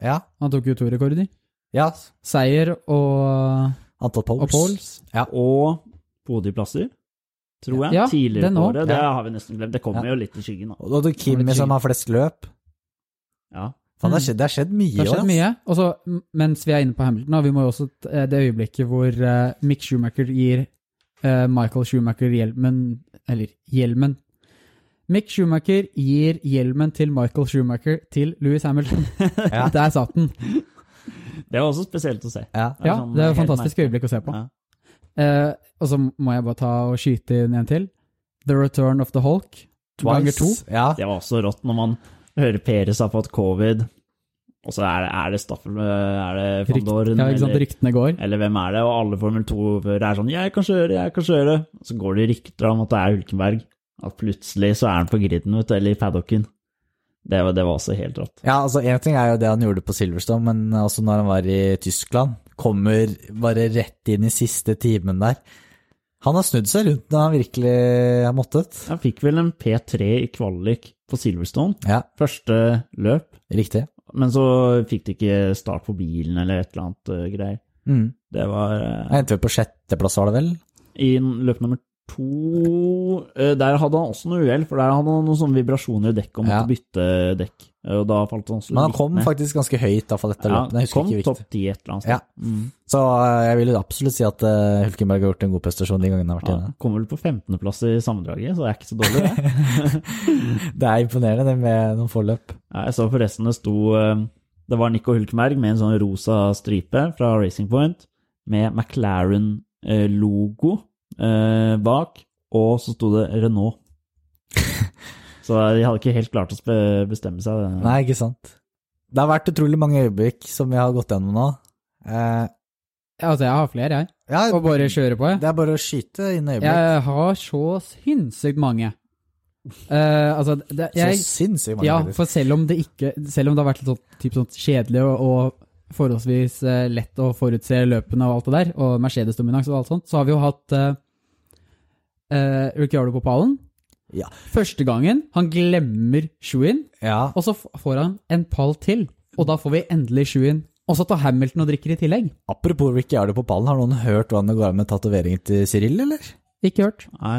S1: Ja.
S2: Han tok jo to rekorder.
S1: ja.
S2: Seier og,
S1: Antall poles.
S2: og poles.
S3: Og podieplasser, tror jeg.
S2: Ja,
S3: Tidligere
S2: den
S3: på
S2: også.
S3: året. Det
S1: Ja.
S3: har vi nesten glemt. Det kommer jo litt i skyggen, da.
S1: Og og Kimi som har flest løp.
S3: Ja.
S1: Faen, det har skjedd, det har skjedd mye
S2: Mm. Det har skjedd
S1: ass.
S2: mye. Og så, m- mens vi er inne på Hamilton, da, vi må jo også t- eh, det øyeblikket hvor eh, Mick Schumacher gir eh, Michael Schumacher hjelmen Eller hjelmen. Mick Schumacher gir hjelmen til Michael Schumacher til Louis Hamilton.
S1: Ja.
S2: Der satt den.
S3: Det var også spesielt å se.
S1: Ja.
S3: Det er
S2: Ja,
S3: sånn
S2: det er et
S3: helt
S2: fantastisk
S3: merkelig.
S2: øyeblikk å se på.
S3: Ja.
S2: Eh, og så må jeg bare ta og skyte inn en til. The Return of the Hulk. Ganger to.
S1: Ja.
S3: Det var også rått når man hører Peres har fått covid, og så er det, er det Staffel Er det van
S2: Rykt,
S3: Doren,
S2: ja, ikke sant?
S3: eller,
S2: Ryktene går.
S3: eller hvem er det? Og alle Formel 2-førere er sånn 'Jeg kan kjøre, jeg kan kjøre'. Og så går det rykter om at det er Hulkenberg. At plutselig så er han på griden, vet du, eller i paddocken. Det, var- det var også helt rått.
S1: Ja, altså En ting er jo det han gjorde på Silverstone, men også når han var i Tyskland. Kommer bare rett inn i siste timen der. Han har snudd seg rundt når han virkelig har måttet.
S3: Han fikk vel en P3 i kvalik på Silverstone,
S1: Ja,
S3: første løp.
S1: riktig.
S3: Men så fikk de ikke start på bilen eller et eller annet eh, greier.
S1: Mm.
S3: Det var eh,
S1: Jeg endte vel på sjetteplass, var det vel?
S3: I løp nummer to eh, der hadde han også noe uhell, for der hadde han noen sånne vibrasjoner i dekket og måtte
S1: Ja.
S3: bytte dekk. Eh, Og da falt han så
S1: Men han
S3: litt
S1: kom
S3: ned.
S1: faktisk ganske høyt da, for dette
S3: Ja,
S1: løpet. Jeg husker
S3: kom
S1: ikke
S3: topp
S1: viktig.
S3: 10 et eller annet
S1: Ja.
S3: sted. Mm.
S1: Så eh, jeg vil absolutt si at eh, Hulkenberg har gjort en god prestasjon de gangene han har vært
S3: Ja,
S1: inne.
S3: kom vel på 15.-plass i sammendraget, så det er ikke så dårlig. Det.
S1: Det er imponerende det med noen få løp.
S3: Ja, Jeg så forresten det sto eh, Det var Nico Hulkenberg med en sånn rosa stripe fra Racing Point, med McLaren-logo eh, bak, og så sto det Renault. Så de hadde ikke helt klart å spe- bestemme seg.
S1: Nei, ikke sant. Det har vært utrolig mange øyeblikk som vi har gått gjennom nå. Eh,
S2: Altså, jeg har flere, jeg.
S1: ja,
S2: Og bare kjøre på, jeg.
S1: det er bare å skyte inn øyeblikk.
S2: Jeg har så sinnssykt mange. Eh, altså, det, jeg,
S1: så sinnssykt mange.
S2: ja,
S1: faktisk.
S2: for selv om det ikke Selv om det har vært litt sånn, typ sånn kjedelig og, og forholdsvis eh, lett å forutse løpene og alt det der, og Mercedes-dominans og alt sånt, så har vi jo hatt uh, Ricciardo på pallen.
S1: Ja.
S2: Første gangen han glemmer shoein,
S1: ja.
S2: og så f- får han en pall til, og da får vi endelig shoein. Og så tar Hamilton og drikker i tillegg.
S1: Apropos Ricciardo på ballen, har noen hørt hvordan det går med tatoveringen til Cyril, eller?
S2: Ikke hørt.
S3: Nei,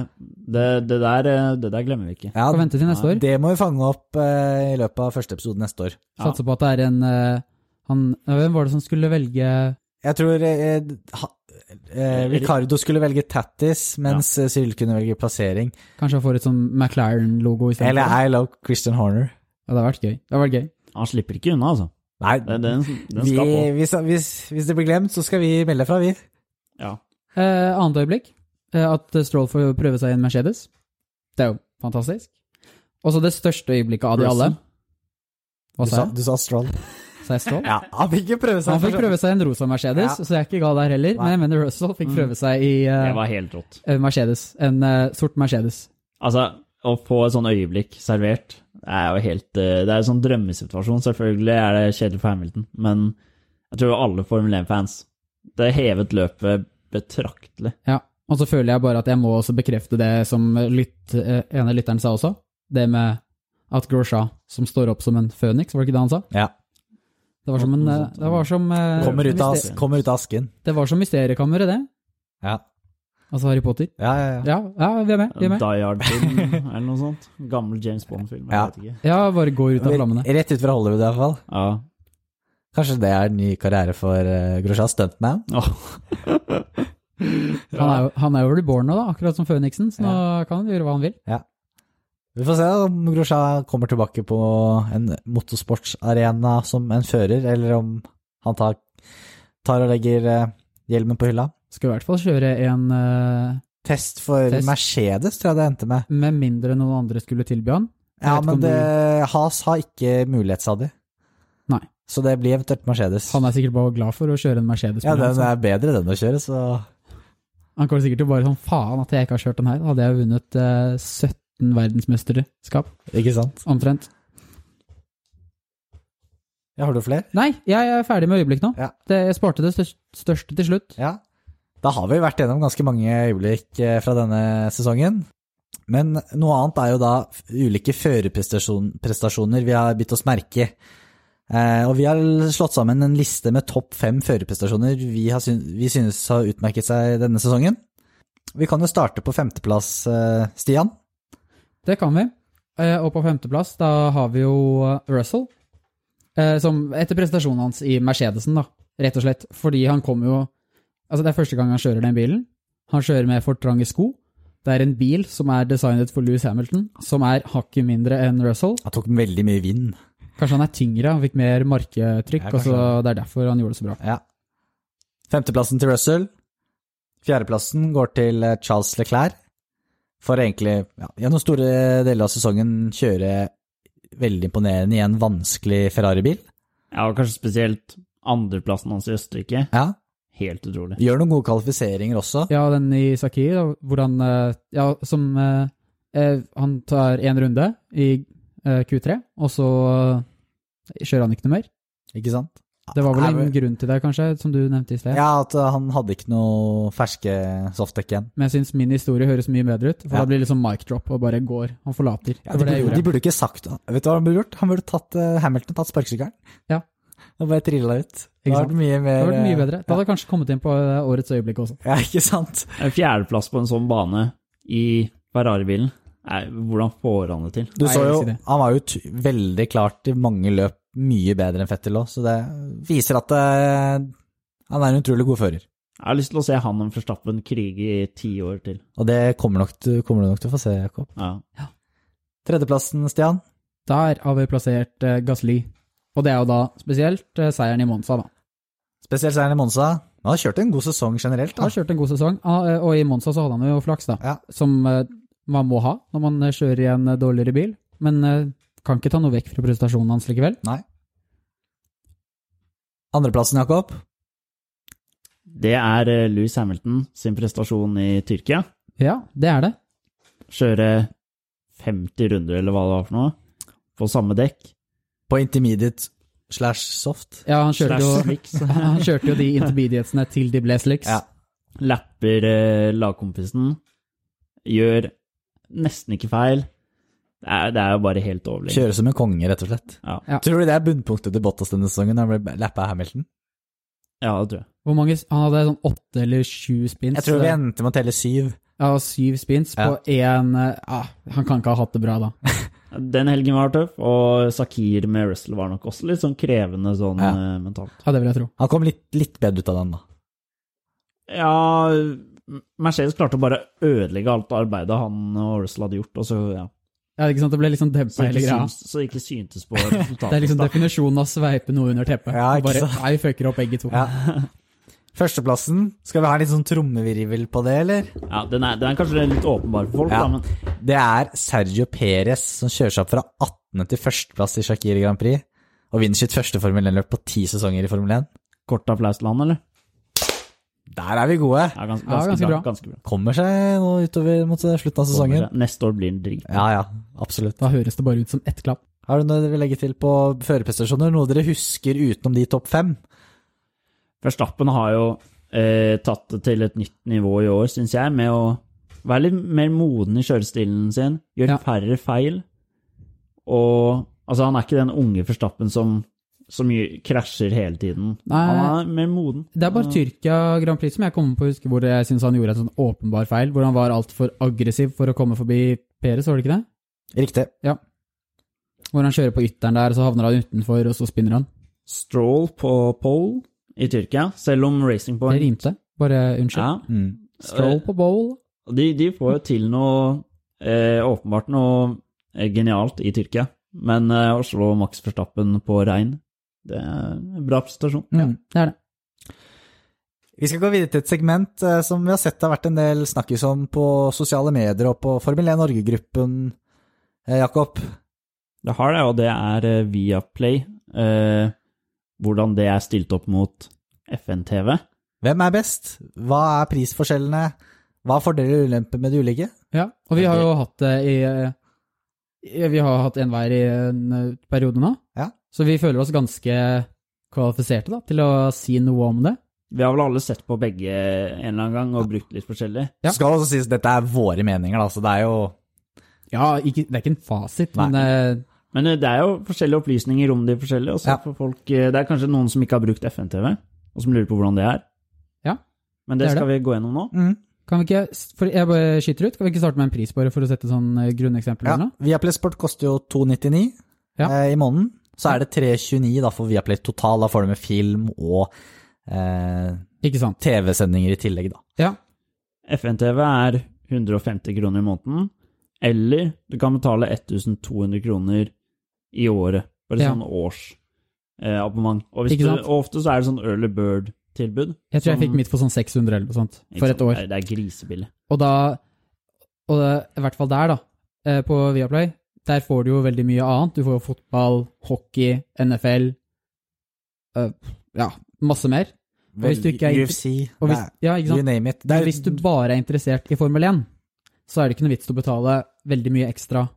S3: det, det, der, eh, det der glemmer vi ikke.
S1: Ja,
S2: Får vente til neste år.
S1: det må vi fange opp eh, i løpet av første episode neste år.
S2: Satser på at det er en eh, han, Hvem var det som skulle velge
S1: Jeg tror eh, ha, eh, Ricardo skulle velge tattis, mens eh, Cyril kunne velge plassering.
S2: Kanskje han får et sånn McLaren-logo istedenfor?
S1: Eller I love Christian Horner.
S2: Ja, det hadde vært gøy. Det hadde vært gøy.
S3: Han slipper ikke unna, altså.
S1: Nei,
S3: Den, den, den
S1: vi,
S3: skal på.
S1: hvis, hvis, hvis det blir glemt, så skal vi melde fra, vi.
S3: Ja.
S2: Eh, annet øyeblikk, eh, at Stroll får prøve seg i en Mercedes. Det er jo fantastisk. Og så det største øyeblikket av de alle.
S1: Du sa,
S2: Hva sa
S3: Russell.
S2: jeg?
S1: du sa Stroll.
S2: Sa jeg Stroll?
S1: Ja, han fikk ikke prøve seg.
S2: Han fikk prøve seg i en rosa Mercedes,
S1: Ja.
S2: så jeg er ikke gal der heller. Men jeg mener Russell fikk prøve seg i eh,
S3: Det var helt rått.
S2: en Mercedes. En eh, sort Mercedes.
S3: Altså, å få et sånn øyeblikk servert, det er jo helt eh, Det er en sånn drømmesituasjon. Selvfølgelig er det kjedelig for Hamilton, men jeg tror alle Formel 1-fans Det hevet løpet betraktelig.
S2: Ja. Og så føler jeg bare at jeg må også bekrefte det som lytt, eh, ene lytteren sa også. Det med at Grosjean, som står opp som en føniks, var det ikke det han sa?
S1: Ja.
S2: Det var som en eh, Det var som eh,
S1: Kommer ut, av,
S2: myster-
S1: kommer ut av asken.
S2: Det var som Mysteriekammeret, det.
S1: Ja,
S2: Altså Harry Potter.
S1: ja, ja. ja.
S2: Ja, ja vi er med. Vi er
S3: En
S2: med.
S3: Die Hard-film eller noe sånt. Gammel James Bond-film, jeg
S1: Ja.
S3: vet ikke.
S2: Ja, bare går ut av flammene.
S1: Rett ut fra Hollywood, i hvert fall.
S3: Ja.
S1: Kanskje det er en ny karriere for uh, Grosjean Stuntman?
S2: Han er, jo- han er jo reborn nå, da, akkurat som Føniksen, så nå kan han gjøre hva han vil.
S1: Vi får se om Grosjean kommer tilbake på en motorsportsarena som en fører, eller om han tar, tar og legger eh, hjelmen på hylla.
S2: Skal i hvert fall kjøre en eh,
S1: Test for
S2: Test.
S1: Mercedes, tror jeg det endte med.
S2: med mindre noen andre skulle tilby han. Jeg
S1: Ja,
S2: vet ikke
S1: men
S2: om
S1: det, Has har ikke mulighet, sa de.
S2: Nei.
S1: Så det blir eventuelt Mercedes.
S2: Han er sikkert bare glad for å kjøre en Mercedes.
S1: ja,
S2: men
S1: den
S2: altså,
S1: er bedre, den å kjøre, så
S2: Han kommer sikkert til å bare sånn faen at jeg ikke har kjørt den her. Da hadde jeg vunnet eh, 17 verdensmesterskap,
S1: Ikke sant.
S2: omtrent.
S1: Ja, har du flere?
S2: Nei, jeg er ferdig med øyeblikk nå.
S1: Ja.
S2: Det, jeg sparte det største, største til slutt.
S1: Ja. Da har vi vært gjennom ganske mange øyeblikk eh, fra denne sesongen. Men noe annet er jo da f- ulike førerprestasjoner vi har bitt oss merke i. Eh, og vi har slått sammen en liste med topp fem førerprestasjoner vi, har syn vi synes har utmerket seg denne sesongen. Vi kan jo starte på femteplass, eh, Stian.
S2: Det kan vi. Eh, Og på femteplass, da har vi jo eh, Russell. eh, Som etter prestasjonen hans i Mercedesen, da, rett og slett. Fordi han kom jo Altså, det er første gang han kjører den bilen. Han kjører med for trange sko. Det er en bil som er designet for Louis Hamilton, som er hakket mindre enn Russell.
S1: Han tok veldig mye vind.
S2: Kanskje han er tyngre, han fikk mer marketrykk,
S1: Ja,
S2: og så
S1: kanskje.
S2: det er derfor han gjorde det så bra.
S1: Ja. Femteplassen til Russell. Fjerdeplassen går til eh, Charles Leclerc. For egentlig, ja, gjennom store deler av sesongen kjøre veldig imponerende i en vanskelig Ferrari-bil.
S3: ja, og kanskje spesielt andreplassen hans i Østerrike.
S1: Ja.
S3: Helt utrolig.
S1: Gjør noen gode kvalifiseringer også.
S2: Ja, den i Saki, da, hvor han eh, Ja, som eh, eh, Han tar én runde i eh, Q3, og så eh, kjører han ikke noe mer.
S1: Ikke sant?
S2: Det var vel
S1: Er vi-
S2: en grunn til det, kanskje, som du nevnte i sted.
S1: Ja, at eh, han hadde ikke noe ferske softdekk igjen.
S2: Men jeg syns min historie høres mye bedre ut, for
S1: Ja.
S2: da blir det liksom mic drop og bare går. Han forlater.
S1: Ja, de,
S2: det var det jeg
S1: burde, de
S2: gjorde.
S1: burde ikke sagt det. Vet du hva han burde gjort? Han burde tatt eh, Hamilton tatt sparkesykkelen.
S2: Ja.
S1: Og bare trilla ut. Det hadde
S2: sant?
S1: vært mye
S2: Det
S1: mer
S2: hadde vært mye
S1: eh,
S2: bedre. Det hadde kanskje kommet inn på eh, årets øyeblikk også.
S1: Ja, ikke sant?
S3: En fjerdeplass på en sånn bane i Ferrari-bilen. Nei, Hvordan får han det til?
S1: Du
S2: Nei,
S1: så
S2: jeg vil
S1: jo,
S2: si det.
S1: han var jo t veldig klart i mange løp mye bedre enn Fettel òg, så det viser at eh, han er en utrolig god fører.
S3: Jeg har lyst til å se han og Verstappen krige i ti år til.
S1: Og det kommer, nok, til- kommer du nok til å få se, Jakob.
S3: Ja.
S1: Tredjeplassen, Stian.
S2: Der har vi plassert eh, Gasly. Og det er jo da spesielt eh, seieren i Monza, da.
S1: Spesielt seieren i Monza. Han har kjørt en god sesong generelt. Da.
S2: Han har kjørt en god sesong, ah, eh, og i Monza så hadde han jo flaks, da.
S1: Ja.
S2: Som eh, man må ha når man eh, kjører i en eh, dårligere bil. Men eh, kan ikke ta noe vekk fra prestasjonen hans likevel.
S1: Andreplassen, Jakob.
S3: Det er eh, Lewis Hamilton sin prestasjon i Tyrkia.
S2: Ja, det er det.
S3: Kjøre 50 runder, eller hva det var for noe, på samme dekk.
S1: På intermediate slash soft.
S2: Ja, han kjørte
S3: Slash
S2: jo,
S3: slicks.
S2: han kjørte jo de intermediatesene til de ble slicks.
S1: Ja.
S3: Lapper eh, lagkompisen. Gjør nesten ikke feil. Det er, det er jo bare helt overlegent.
S1: Kjører som en konge, rett og slett.
S3: Ja.
S2: Ja.
S1: Tror du det er bunnpunktet til Bottas denne sesongen? når Han ble lappa av Hamilton?
S3: ja, det tror jeg.
S2: Hvor mange, han hadde sånn åtte eller sju spins.
S1: Jeg tror vi endte med å telle syv.
S2: Ja, syv spins på én eh, ah, Han kan ikke ha hatt det bra, da.
S3: Den helgen var tøff, og Sakir med Russell var nok også litt sånn krevende sånn
S1: Ja.
S3: eh, mentalt.
S2: Ja, det vil jeg tro.
S1: Han kom litt, litt bedre ut av den, da.
S3: Ja, Mercedes klarte å bare ødelegge alt arbeidet han og Russell hadde gjort, og så, ja.
S2: Ja, ikke sant? Det ble liksom dempa
S3: så,
S2: hele
S3: ikke,
S2: greia.
S3: syns, så ikke syntes på resultatet.
S2: Det er liksom
S3: da.
S2: definisjonen av sveipe noe under teppet.
S1: Ja, ikke
S2: Bare,
S1: sant?
S2: nei, vi fucker opp begge to.
S1: Ja. Førsteplassen. Skal vi ha litt sånn trommevirvel på det, eller?
S3: ja, den, er, den er kanskje litt åpenbar for folk,
S1: Ja.
S3: da, men
S1: Det er Sergio Perez som kjører seg opp fra 18. til førsteplass i Shakiri Grand Prix, og vinner sitt første Formel 1-løp på ti sesonger i Formel 1.
S3: kort applaus til han, eller?
S1: Der er vi gode!
S3: Ja, ganske,
S2: Ja,
S3: ganske,
S2: ganske
S3: bra.
S2: bra.
S3: Ganske bra.
S1: Kommer seg nå utover mot slutten av sesongen.
S3: Neste år blir den drit.
S1: Ja, ja. Absolutt.
S2: Da høres det bare ut som ett klapp.
S1: Har du noe dere vil legge til på førerprestasjoner? Noe dere husker utenom de topp fem?
S3: Verstappen har jo eh, tatt det til et nytt nivå i år, syns jeg, med å være litt mer moden i kjørestilen sin, gjøre
S2: Ja.
S3: færre feil. Og altså, han er ikke den unge Verstappen som, som gjør- krasjer hele tiden.
S2: Nei.
S3: Han er mer moden.
S2: Det er bare
S3: Ja.
S2: Tyrkia Grand Prix som jeg kommer på å huske hvor jeg syns han gjorde en sånn åpenbar feil, hvor han var altfor aggressiv for å komme forbi Perez, var det ikke det?
S1: Riktig.
S2: Hvor han kjører på ytteren der, så havner han utenfor, og så spinner han.
S3: Stroll på pole i Tyrkia, selv om Racing
S2: Det
S3: Point
S2: rimte. Bare unnskyld.
S3: ja,
S1: Mm.
S2: Stroll på bowl.
S3: Og De, de får jo til noe eh, åpenbart noe eh, genialt i Tyrkia. Men eh, å slå Max Verstappen på regn, det er en bra prestasjon.
S2: Ja,
S1: Mm.
S2: det er det.
S1: Vi skal gå videre til et segment eh, som vi har sett det har vært en del snakkes om på sosiale medier og på Formel 1 Norge-gruppen, eh, Jakob.
S3: Det har det, og det er eh, via Play. Eh, hvordan det er stilt opp mot FN-TV.
S1: Hvem er best? Hva er prisforskjellene? Hva er fordeler og ulemper med det ulike?
S2: Ja, og vi har jo hatt det i eh, Vi har hatt en hver i en eh, periode nå,
S1: Ja.
S2: så vi føler oss ganske kvalifiserte da, til å si noe om det.
S3: Vi har vel alle sett på begge en eller annen gang og brukt litt forskjellig.
S2: Ja.
S1: Det Skal også sies at dette er våre meninger, da, så det er jo
S2: Ja, ikke, det er ikke en fasit,
S1: Nei.
S2: men eh,
S3: Men eh, det er jo forskjellige opplysninger om de forskjellige. Og så
S1: Ja.
S3: får folk, eh, det er kanskje noen som ikke har brukt FN-TV, og som lurer på hvordan det er.
S2: Ja,
S3: Men det,
S2: det er
S3: skal vi gå gjennom nå.
S1: mm.
S2: Kan vi ikke, for jeg bare skyter ut, kan vi ikke starte med en pris bare for å sette sånn eh, grunneksempel
S1: Ja,
S2: eller noe?
S1: Viaplay Sport koster jo 299
S2: Ja.
S1: eh, i måneden. Så er det 329 da for Viaplay total. Da får du med film og eh,
S2: Ikke sant?
S1: TV-sendinger i tillegg, da.
S2: Ja,
S3: FN-TV er 150 kroner i måneden, eller du kan betale 1200 kroner i året. Bare
S2: Ja.
S3: sånn årsabonnement. og, hvis
S2: Ikke
S3: du,
S2: sant?
S3: og ofte så er det sånn early bird-tilbud.
S2: jeg tror jeg
S3: Som-
S2: fikk mitt for sånn 600 eller noe sånt, for
S3: Ikke
S2: et
S3: sant?
S2: år.
S3: Det er- Det er grisebillig.
S2: Og da, og det, i hvert fall der da, eh, på Viaplay, der får du jo veldig mye annet. Du får jo fotball, hockey, NFL, eh, ja, masse mer. Og hvis du ikke er-
S1: UFC,
S2: Og hvis,
S1: det er-
S2: ja, ikke
S1: you
S2: sant?
S1: name it. Det
S2: Men
S1: er,
S2: hvis du bare er interessert i Formel 1, så er det ikke noe vits å betale veldig mye ekstra,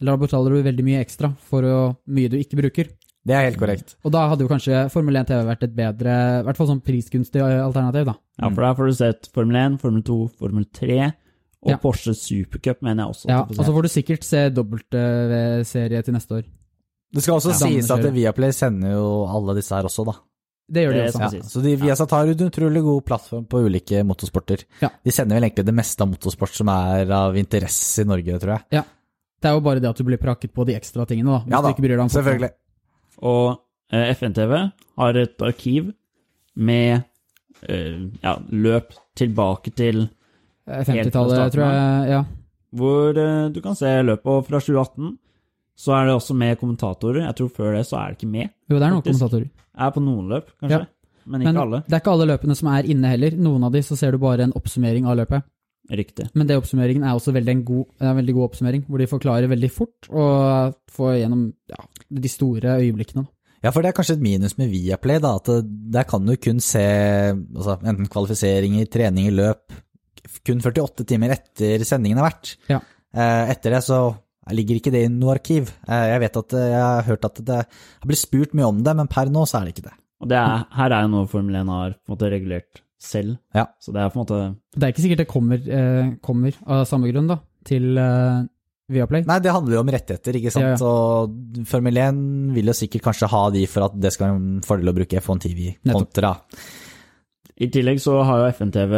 S2: eller da betaler du veldig mye ekstra for å, mye du ikke bruker.
S1: det er helt korrekt.
S2: Og da hadde jo kanskje Formel 1 TV vært et bedre, i hvert fall sånn prisgunstig eh, alternativ, da.
S3: Ja, for der får du sett Formel 1, Formel 2, Formel 3, og
S2: Ja.
S3: Porsche Supercup mener jeg også. at
S2: Ja, altså- og
S3: du får se.
S2: så får du sikkert se dobbelt-serie til neste år.
S1: Det skal også
S2: Ja.
S1: sies at
S2: Damene kjører.
S1: Viaplay sender jo alle disse her også, da.
S2: Det gjør de
S3: Det
S2: også.
S1: Ja,
S3: skal sies.
S1: så de, Viasat har en utrolig god plattform på ulike motorsporter.
S2: Ja.
S1: De sender vel egentlig det meste av motorsport som er av interesse i Norge, tror jeg.
S2: Ja. Det er jo bare det at du blir prakket på de ekstra tingene, da. Hvis
S1: Ja
S2: du
S1: da,
S2: ikke bryr deg om fotball.
S1: selvfølgelig.
S3: Og eh, FNTV har et arkiv med eh, ja, løp tilbake til
S2: Eh,
S3: Helt fra
S2: 50-tallet,
S3: starten
S2: tror jeg. Ja.
S3: hvor eh, du kan se løpet. Og fra 2018 så er det også med kommentatorer. Jeg tror før det så er det ikke med.
S2: Jo, det er noen
S3: Faktisk.
S2: kommentatorer.
S3: Er på noen løp, kanskje.
S2: Ja.
S3: Men ikke
S2: Men
S3: alle.
S2: det er ikke alle løpene som er inne heller. Noen av de så ser du bare en oppsummering av løpet.
S3: Riktig.
S2: Men det oppsummeringen er også veldig en god, det er en veldig god oppsummering, hvor de forklarer veldig fort og får gjennom ja, de store øyeblikkene.
S1: Ja, for det er kanskje et minus med Viaplay, da, at det- der kan du kun se altså, enten kvalifiseringer, treninger, løp, kun 48 timer etter sendingen har vært.
S2: Ja.
S1: Eh, Etter det så ligger ikke det i noe arkiv. Eh, Jeg vet at eh, jeg har hørt at det har blitt spurt mye om det, men per nå så er det ikke det.
S3: Og det er, her er jo noe Formel 1 har på en måte regulert selv.
S1: Ja.
S3: Så det er på en måte
S2: Det er ikke sikkert det kommer, eh, kommer av samme grunn da, til eh, Viaplay.
S1: Nei, det handler jo om rettigheter, ikke sant.
S2: Ja, ja.
S1: Og Formel 1 vil jo sikkert kanskje ha de for at det skal være en fordel å bruke F1 TV
S2: Nettopp.
S1: kontra.
S3: I tillegg så har jo FNTV,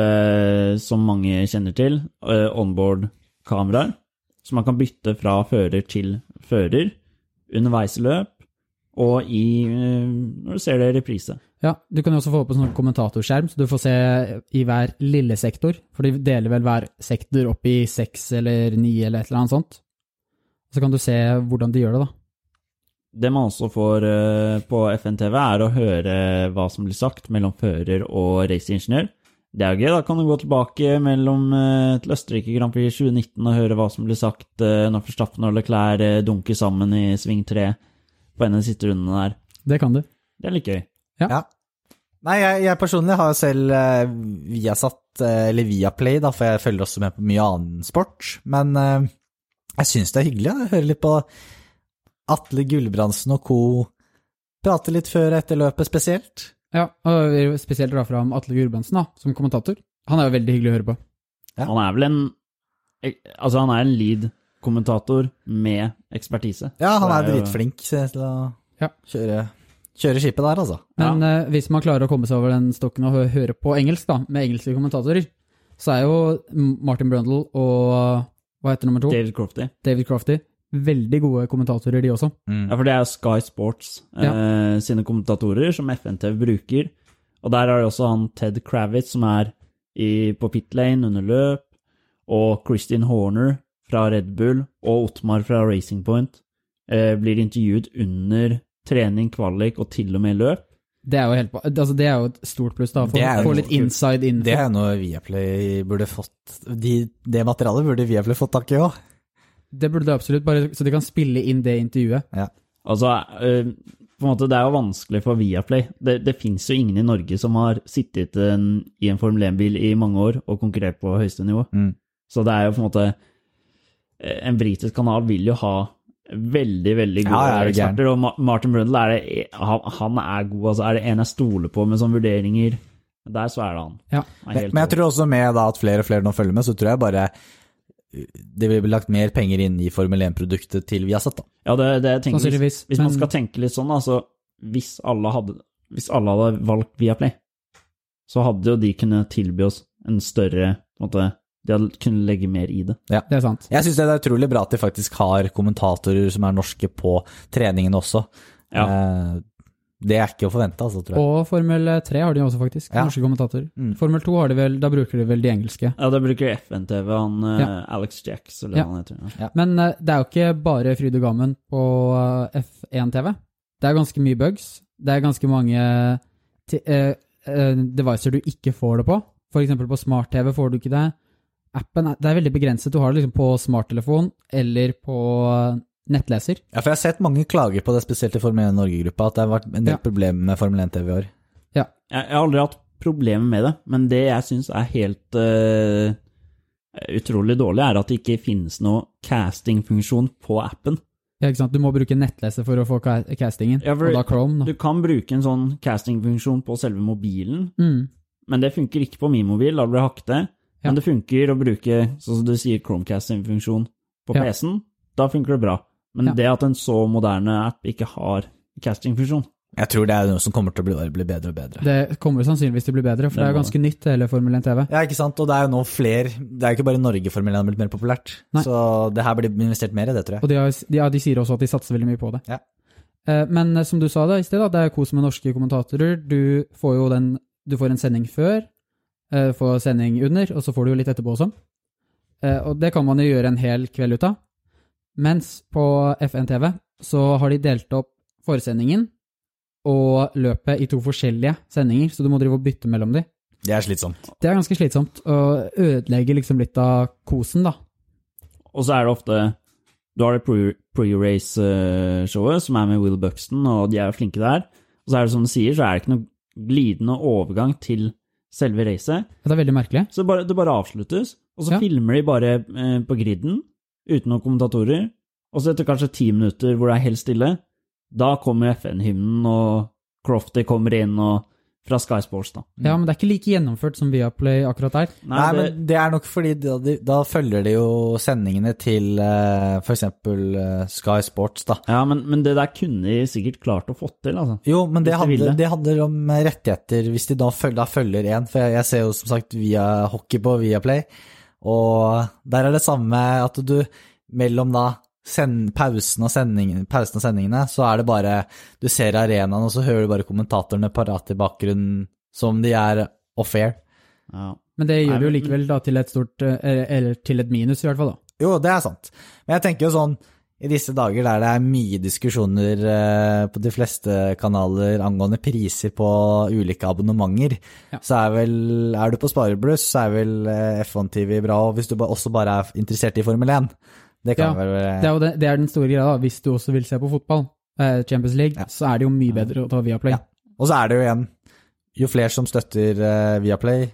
S3: som mange kjenner til, eh, onboard-kameraer. Så man kan bytte fra fører til fører underveis i løp, og i eh, når du ser det i reprise.
S2: Ja, du kan jo også få på sånn kommentatorskjerm, så du får se i hver lille sektor, for de deler vel hver sektor opp i seks eller ni eller et eller annet sånt. Så kan du se hvordan de gjør det da.
S3: Det man også får eh, på FNTV, er å høre hva som blir sagt mellom fører og raceingeniør. Det er jo gøy. Da kan du gå tilbake mellom eh, til Østerrike Grand Prix 2019 og høre hva som blir sagt eh, når Verstappen og Leclerc eh, dunker sammen i sving tre på en av de siste rundene der.
S2: Det kan du.
S3: Det er litt gøy.
S1: Ja. Nei, jeg, jeg personlig har jo selv eh, Viasat, eh, eller Viaplay, da, for jeg følger også med på mye annen sport. Men eh, jeg syns det er hyggelig ja, å høre litt på Atle Gulbrandsen og co. prate litt før og etter løpet spesielt.
S2: Ja, og vi vil spesielt dra fram Atle Gurbrandsen da, som kommentator. Han er jo veldig hyggelig å høre på.
S1: Ja.
S3: Han er vel en Altså, han er en lead-kommentator med ekspertise.
S1: Ja, han
S3: Så
S1: er
S3: det jo-
S1: dritflink til å
S2: Ja.
S1: kjøre, kjøre skipet der, altså.
S2: Men eh, hvis man klarer å komme seg over den stokken og hø høre på engelsk, da, med engelske kommentatorer, så er jo M- Martin Brundle og hva heter nummer to? David,
S3: David Crofty.
S2: Crofty. Veldig gode kommentatorer, de også.
S3: Ja, for det er Sky Sports eh, sine kommentatorer som FNTV bruker. Og der har de også han Ted Kravitz som er i, på pit lane under løp, og Kristin Horner fra Red Bull og Otmar fra Racing Point eh, blir intervjuet under trening, kvalik og til og med løp.
S2: Det er jo, helt, altså, det er jo et stort pluss, da.
S1: Det er
S2: For å
S1: jo
S2: få litt
S1: stort.
S2: inside info.
S1: Det er jo noe Viaplay burde fått de, Det materialet burde Viaplay fått tak i òg.
S2: Det burde det absolutt, bare så de kan spille inn det intervjuet.
S3: Altså, eh, på en måte, det er jo vanskelig for Viaplay. Det, det fins jo ingen i Norge som har sittet en, i en Formel 1-bil i mange år og konkurrert på høyeste nivå.
S1: Mm.
S3: Så det er jo på en måte eh, En britisk kanal vil jo ha veldig, veldig gode
S1: Ja, ja, det er gæren.
S3: eksperter, og Ma- Martin Brundle er det, e, han, han er god, altså. Er det en jeg stoler på med sånne vurderinger? Der så er det han.
S2: Ja.
S3: Han er
S1: Men
S3: helt
S1: men jeg
S3: rå.
S1: tror også med da at flere og flere nå følger med, så tror jeg bare eh, det vil bli lagt mer penger inn i Formel 1-produktet til Viasat, da.
S3: Ja, det, det jeg tenker, hvis,
S2: Sannsynligvis,
S3: hvis man
S2: men-
S3: skal tenke litt sånn, altså hvis alle hadde, hvis alle hadde valgt Viaplay, så hadde jo de kunnet tilby oss en større på en måte, De hadde kunnet legge mer i det.
S2: Det er sant.
S1: Jeg syns det er utrolig bra at de faktisk har kommentatorer som er norske på treningen også. Eh, Det er ikke å forvente, altså, tror jeg.
S2: Og Formel 3 har de også, faktisk.
S1: Ja.
S2: Norske kommentatorer.
S1: Mm.
S2: Formel 2 har de vel, da bruker de vel de engelske.
S3: Ja, da bruker FNTV, han eh, Alex Jacks, eller
S2: Ja.
S3: hva han heter. Ja.
S2: Men eh, det er jo ikke bare fryd og gammen på eh, F1-TV. Det er ganske mye bugs. Det er ganske mange te- eh, eh, devicer du ikke får det på. For eksempel på smart-TV får du ikke det. Appen er, det er veldig begrenset. Du har det liksom på smarttelefon eller på eh, nettleser.
S1: Ja, for jeg har sett mange klager på det, spesielt i Formel 1 Norge-gruppa, at det har vært en del
S2: Ja.
S1: problemer med Formel 1-TV i år.
S3: Jeg, jeg har aldri hatt problemer med det, men det jeg syns er helt eh, utrolig dårlig, er at det ikke finnes noe castingfunksjon på appen.
S2: Ja, ikke sant? Du må bruke nettleser for å få ca- castingen,
S3: Ja, for-
S2: og da Chrome. Da.
S3: Du kan bruke en sånn castingfunksjon på selve mobilen,
S2: Mm.
S3: Men det funker ikke på min mobil, da blir det hakkete. Men
S2: Ja.
S3: det funker å bruke, sånn som du sier, Chromecast sin funksjon på
S2: Ja.
S3: PC-en. Da funker det bra. Men
S2: Ja.
S3: det at en så moderne app ikke har castingfunksjon,
S1: Jeg tror det er noe som kommer til å bli, bare bli bedre og bedre.
S2: Det kommer sannsynligvis til å bli bedre, for det er jo ganske nytt, hele Formel 1-TV.
S1: Ja, ikke sant? Og det er jo nå flere Det er jo ikke bare i Norge Formel 1 har blitt mer populært.
S2: Nei.
S1: Så det her blir investert mer i det, tror jeg.
S2: Og de, har, de, ja, de sier også at de satser veldig mye på det.
S1: Ja.
S2: Eh, Men eh, som du sa da, i sted, da, det er kos med norske kommentatorer. Du får jo den, du får en sending før, eh, får sending under, og så får du jo litt etterpå også. Eh, Og det kan man jo gjøre en hel kveld ut av. Mens på FN-TV så har de delt opp foresendingen og løpet i to forskjellige sendinger, så du må drive og bytte mellom de.
S1: Det er slitsomt.
S2: Det er ganske slitsomt, og ødelegger liksom litt av kosen, da.
S3: Og så er det ofte Du har det pre- pre-race-showet, som er med Will Buxton, og de er jo flinke der. Og så er det som du sier, så er det ikke noe glidende overgang til selve racet.
S2: Det er veldig merkelig.
S3: Så det bare, det bare avsluttes, og så
S2: Ja.
S3: filmer de bare eh, på griden, uten noen kommentatorer. Og så etter kanskje ti minutter hvor det er helt stille, da kommer FN-hymnen, og Crofty kommer inn og fra Sky Sports, da.
S2: Ja, men det er ikke like gjennomført som Viaplay akkurat der.
S1: Nei, men det er nok fordi da, de- da følger de jo sendingene til eh, for eksempel eh, Sky Sports, da.
S3: Ja, men, men det der kunne de sikkert klart å få til, altså.
S1: Jo, men det
S3: Hvis de vil
S1: handler,
S3: det.
S1: det handler om eh, rettigheter, hvis de da følger, da følger en. For jeg, jeg ser jo som sagt via hockey på Viaplay, og der er det samme at du mellom da send, pausen, og sendingen, pausen og sendingene, så er det bare Du ser arenaen, og så hører du bare kommentatorene parat i bakgrunnen som de er off-air.
S3: Ja.
S2: Men det
S3: Nei,
S2: gjør det jo
S3: men-
S2: likevel da til et stort eh, Eller til et minus, i hvert fall. da.
S1: Jo, det er sant. Men jeg tenker jo sånn, i disse dager der det er mye diskusjoner eh, på de fleste kanaler angående priser på ulike abonnementer,
S2: Ja.
S1: så er vel Er du på sparebluss, så er vel eh, F1 TV bra, og hvis du ba- også bare er interessert i Formel 1. Det kan
S2: Ja,
S1: vel
S2: Det er jo det, det er den store greia. da. Hvis du også vil se på fotball, eh, Champions League,
S1: Ja.
S2: så er det jo mye bedre å ta Viaplay.
S1: Ja. Og så er det jo igjen, jo flere som støtter eh, Viaplay,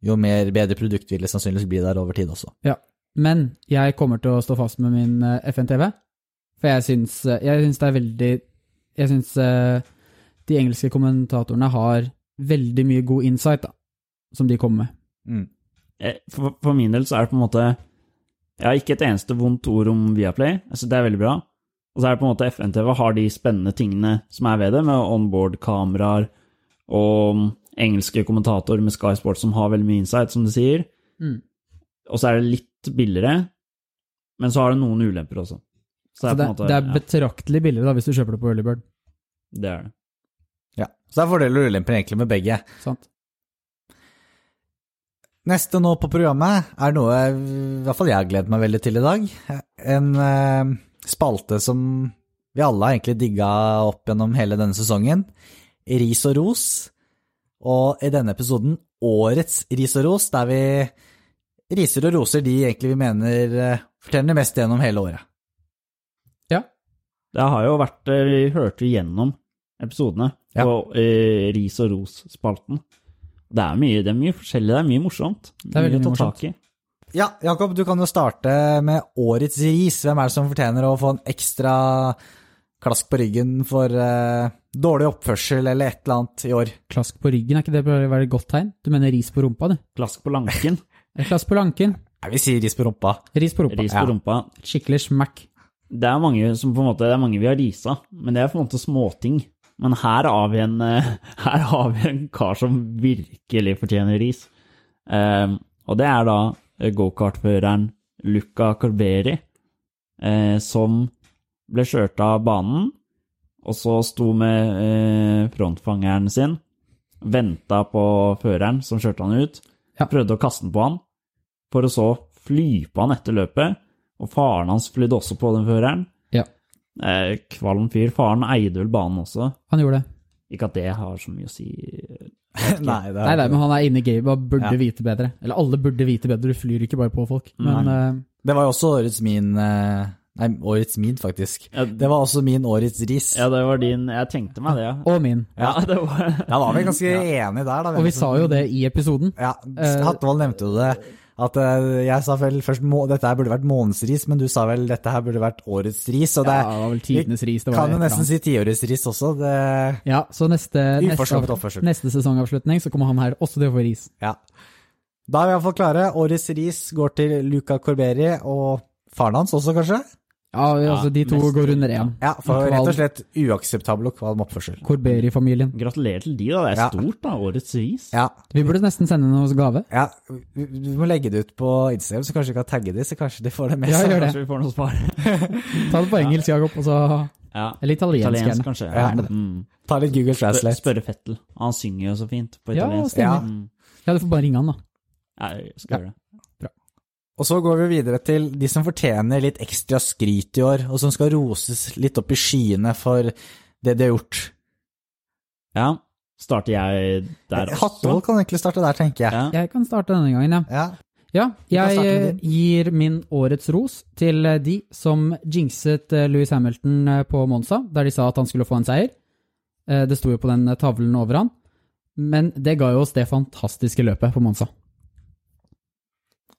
S1: jo mer bedre produkt vil det sannsynligvis bli der over tid også.
S2: Men jeg kommer til å stå fast med min eh, FN-TV, for jeg syns, eh, jeg syns det er veldig Jeg syns eh, de engelske kommentatorene har veldig mye god insight, da, som de kommer med.
S1: Mm.
S3: Eh, For, for min del så er det på en måte Jeg har ikke et eneste vondt ord om Viaplay. Altså, det er veldig bra. Og så er det på en måte FNTV har de spennende tingene som er ved det, med onboard-kameraer og engelske kommentatorer med Sky Sports som har veldig mye insight, som du sier.
S2: Mm.
S3: Og så er det litt billigere, men så har det noen ulemper også. Så
S2: Så
S3: det er på
S2: det,
S3: en måte
S2: det er
S3: ja,
S2: betraktelig billigere da, hvis du kjøper det på Earlybird.
S3: det er det.
S1: Ja. Så det er fordeler og ulemper egentlig med begge.
S2: Sant?
S1: Neste nå på programmet er noe i hvert fall jeg har gledet meg veldig til i dag. En eh, spalte som vi alle har egentlig digga opp gjennom hele denne sesongen. Ris og ros. Og i denne episoden årets ris og ros, der vi riser og roser de egentlig vi mener eh, fortjener mest gjennom hele året.
S2: Ja.
S3: Det har jo vært eh, Vi hørte gjennom episodene
S1: Ja.
S3: på eh, Ris og ros-spalten. Det er mye, det er mye forskjellig, det er mye morsomt. Det
S2: er veldig
S3: mye
S2: mye morsomt.
S3: tak i.
S1: Ja, Jakob, du kan jo starte med årets ris. Hvem er det som fortjener å få en ekstra klask på ryggen for eh, dårlig oppførsel eller et eller annet i år?
S2: Klask på ryggen, er ikke det bare bare et godt tegn? Du mener ris på rumpa, du?
S3: Klask på lanken,
S2: Eh, Klask på lanken.
S1: Nei, vi sier ris på rumpa.
S2: Ris på rumpa.
S3: ris
S1: Ja.
S3: på rumpa.
S2: Skikkelig smack.
S3: Det er mange som på en måte, det er mange vi har risa, men det er på en måte småting. Men her har vi en, eh, her har vi en kar som virkelig fortjener ris. Eh, og det er da eh, gokartføreren Luca Corberi, eh, som ble kjørt av banen, og så sto med eh, frontfangeren sin, venta på føreren som kjørte han ut,
S2: Ja.
S3: prøvde å kaste den på han, for å så fly på han etter løpet, og faren hans flydde også på den føreren.
S2: Ja.
S3: Eh, kvalm fyr. Faren eide vel banen også.
S2: Han gjorde det.
S3: Ikke at det har så mye å si.
S1: Nei, det
S2: Nei, nei, men han er inne i gamet og burde
S1: Ja.
S2: vite bedre. Eller alle burde vite bedre, du flyr ikke bare på folk. Men eh,
S1: Det var jo også årets min eh, Nei, årets min, faktisk.
S3: Ja,
S1: Det var også min årets ris.
S3: Ja, det var din Jeg tenkte meg det, ja.
S2: Og min.
S3: Ja, det var
S1: Da var vi ganske enige der, da.
S2: Og vi Eh, sa jo det i episoden.
S1: Ja, Hattevold nevnte jo det. At eh, jeg sa vel først må, dette her burde vært månedens ris, men du sa vel dette her burde vært årets ris. Og det
S2: Ja, det var vel tidenes ris. Det var
S1: kan jo
S2: et eller
S1: nesten
S2: annet.
S1: si tiårets ris også. Det,
S2: Ja, så neste, neste,
S1: Uforskammet
S2: av-
S1: oppførsel.
S2: neste sesongavslutning så kommer han her også til å få ris.
S1: ja. Da er vi iallfall klare. Årets ris går til Luca Corberi og faren hans også, kanskje?
S2: Ja, altså De to
S3: mest-
S2: går under én.
S1: Ja, for
S2: Kvalm.
S1: rett og slett uakseptabel og kvalm oppførsel.
S2: Corberi-familien.
S3: Gratulerer til de, da. Det er
S1: Ja.
S3: stort, da. Årets ris.
S1: Ja,
S2: Vi burde nesten sende henne hos gave.
S1: ja. Du du må legge det ut på Instagram, så kanskje vi kan tagge de, så kanskje de får det med
S2: Ja,
S1: seg.
S2: gjør det.
S3: Kanskje vi får noe svar.
S2: Ta det på engelsk, Jakob, og så
S3: Ja.
S2: Eller italiensk,
S3: Italiensk,
S2: gjerne.
S3: kanskje.
S1: Ja.
S3: Mm.
S1: Ta litt Google
S3: Spør-
S1: Translate.
S3: Spørre Fettel. Han synger jo så fint på
S2: Ja,
S3: italiensk.
S1: Ja.
S2: stemmer.
S3: Mm.
S2: Ja, du får bare ringe han, da.
S3: Ja, jeg skal gjøre det.
S1: Og så går vi videre til de som fortjener litt ekstra skryt i år, og som skal roses litt opp i skyene for det de har gjort.
S3: Ja. Starter jeg der også?
S1: Hattevold kan egentlig starte der, tenker jeg.
S3: Ja.
S2: Jeg kan starte denne gangen, ja.
S1: Ja.
S2: Ja,
S1: Vi kan
S2: jeg
S1: starte med
S2: eh, gir min årets ros til eh, de som jinxet eh, Lewis Hamilton eh, på Monza, der de sa at han skulle få en seier. Eh, Det sto jo på den eh, tavlen over han. Men det ga jo oss det fantastiske løpet på Monza.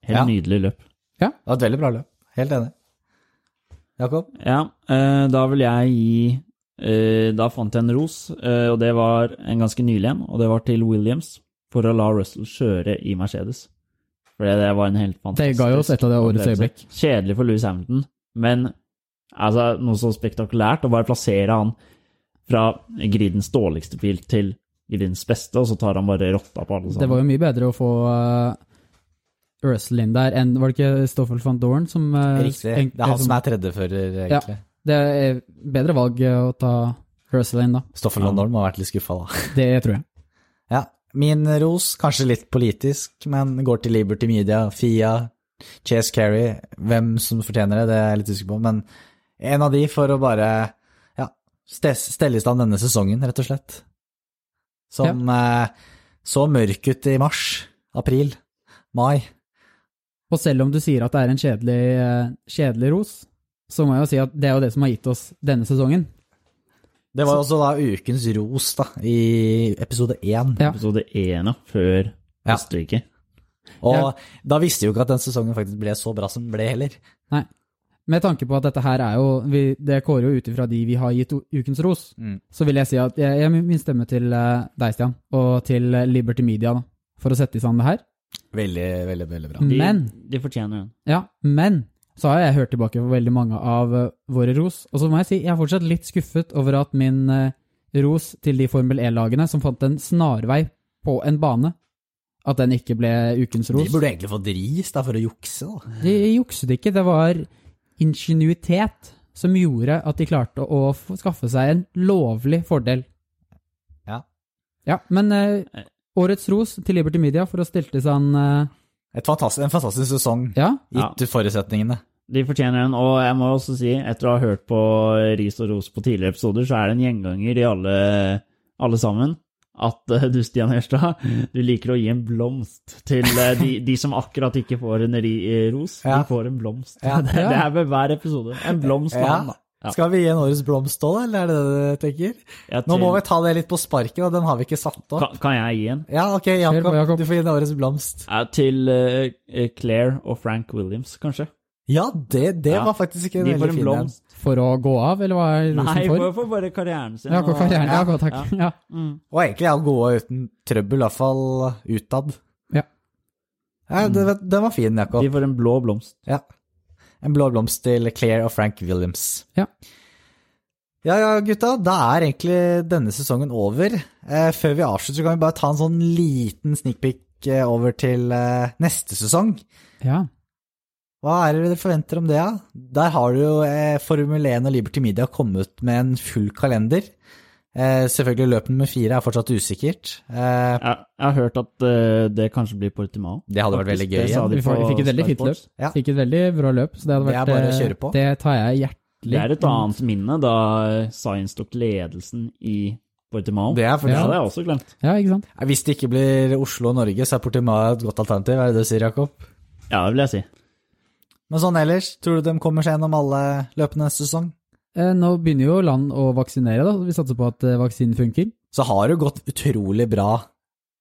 S3: Helt
S1: Ja.
S3: nydelig løp.
S1: Det var et veldig bra løp. Helt enig. Jakob?
S3: Ja, eh, da vil jeg gi eh, Da fant jeg en ros, eh, og det var en ganske nylig en, og det var til Williams for å la Russell kjøre i Mercedes. For det var en helt
S2: Det
S3: fantastisk
S2: ga jo oss et av det årets
S3: opplevelse.
S2: øyeblikk.
S3: Kjedelig for Louis Hamilton, men altså, noe så spektakulært å bare plassere han fra gridens dårligste bil til gridens beste, og så tar han bare rotta på alle sammen.
S2: Det var jo mye bedre å få eh, Russell inn der enn Var det ikke Stoffel van Doren som eh,
S1: Riktig.
S2: en-
S1: Det er han som er tredjefører, egentlig.
S2: Det er bedre valg eh, å ta Russell inn, da.
S1: Stoffel Lundholm har vært litt skuffa, da.
S2: Det tror jeg.
S1: Ja. Min ros, kanskje litt politisk, men går til Liberty Media, Fia, Chase Carey. Hvem som fortjener det, det er jeg litt usikker på, men en av de for å bare ja, ste- stelle i stand denne sesongen, rett og slett. Som eh, så mørk ut i mars, april, mai.
S2: Og selv om du sier at det er en kjedelig, eh, kjedelig ros, så må jeg jo si at det er jo det som har gitt oss denne sesongen.
S1: Det var også da ukens ros da, i episode én.
S2: Ja.
S3: Episode én, ja, før
S1: Ja.
S3: Østerrike.
S1: Og
S2: Ja.
S1: da visste vi jo ikke at den sesongen faktisk ble så bra som den ble heller.
S2: Nei. Med tanke på at dette her er jo vi, Det kårer jo ut ifra de vi har gitt o- ukens ros.
S1: Mm.
S2: Så vil jeg si at jeg, jeg gir min stemme til eh, deg, Stian, og til eh, Liberty Media, da, for å sette i stand det her.
S1: Veldig, veldig, veldig bra.
S3: De,
S2: Men
S3: de fortjener den.
S2: Ja, men så har jeg hørt tilbake på veldig mange av eh, våre ros, og så må jeg si jeg er fortsatt litt skuffet over at min eh, ros til de Formel E-lagene som fant en snarvei på en bane, at den ikke ble ukens
S1: De
S2: ros.
S1: burde egentlig fått ris da, for å jukse, da.
S2: De jukset ikke, det var ingenuitet som gjorde at de klarte å få- skaffe seg en lovlig fordel.
S1: Ja.
S2: Ja, men eh, årets ros til Liberty Media for å stilte seg en eh,
S1: Et fantastisk, en fantastisk sesong,
S2: Ja,
S1: gitt forutsetningene.
S3: De fortjener den, og jeg må også si, etter å ha hørt på ris og ros på tidligere episoder, så er det en gjenganger i alle, alle sammen at eh, du, Stian Hørstad, du liker å gi en blomst til eh, de, de som akkurat ikke får en ri, eh, ros.
S1: Ja.
S3: De får en blomst.
S1: Ja.
S3: Det, det er ved hver episode. En blomst til
S1: Ja.
S3: han, da. Ja.
S1: Skal vi gi en årets blomst òg, eller er det det du tenker?
S3: Ja,
S1: Nå må
S3: til-
S1: vi ta det litt på sparket, og den har vi ikke satt opp.
S3: kan, kan jeg gi en?
S1: Ja, ok,
S2: Kjør
S1: Jakob,
S2: på, Jakob.
S1: du får gi en årets blomst.
S3: Ja, til eh, eh, Claire og Frank Williams, kanskje.
S1: Ja, det, det
S3: Ja.
S1: var faktisk ikke en
S3: De får
S1: veldig
S3: en
S1: fin en.
S3: blomst.
S2: for å gå av, eller hva er rosen
S3: Nei,
S2: for?
S3: for, for bare karrieren sin.
S2: Ja,
S3: og-
S2: karrieren. Ja, godt, takk. Ja.
S1: Og egentlig er gode uten trøbbel, i hvert fall utad.
S2: Ja.
S1: Ja, det, den var fin, Jakob.
S3: De får en blå blomst.
S1: Ja. En blå blomst til Claire og Frank Williams.
S2: Ja.
S1: Ja, ja, gutta, da er egentlig denne sesongen over. Eh, før vi avslutter, så kan vi bare ta en sånn liten sneakpeak eh, over til eh, neste sesong.
S2: Ja.
S1: Hva er det dere forventer om det, da? Der har du jo eh, Formel 1 og Liberty Media kommet ut med en full kalender. Eh, selvfølgelig løp nummer fire er fortsatt usikkert. Eh,
S3: Jeg, jeg har hørt at eh, det kanskje blir Portimao.
S1: det hadde vært veldig gøy.
S3: Det sa
S1: igjen.
S3: de
S2: Vi får-
S3: på
S2: vi fikk et veldig
S3: Sky
S2: fint
S3: Sports.
S1: Ja.
S2: Fikk et veldig bra løp, så det hadde
S1: Det
S2: vært eh,
S1: er bare å kjøre på.
S2: Det tar jeg hjertelig.
S3: Det er et annet minne da Science tok ledelsen i Portimao.
S1: Det er for-
S3: det hadde jeg også glemt.
S2: Mm. Ja, ikke sant?
S1: Hvis det ikke blir Oslo og Norge, så er Portimao et godt alternativ, er det det du sier, Jakob?
S3: Ja, det vil jeg si.
S1: Men sånn ellers, tror du de kommer seg gjennom alle løpene neste sesong?
S2: Eh, Nå begynner jo land å vaksinere, da. så Vi satser på at eh, vaksinen funker.
S1: Så har det jo gått utrolig bra,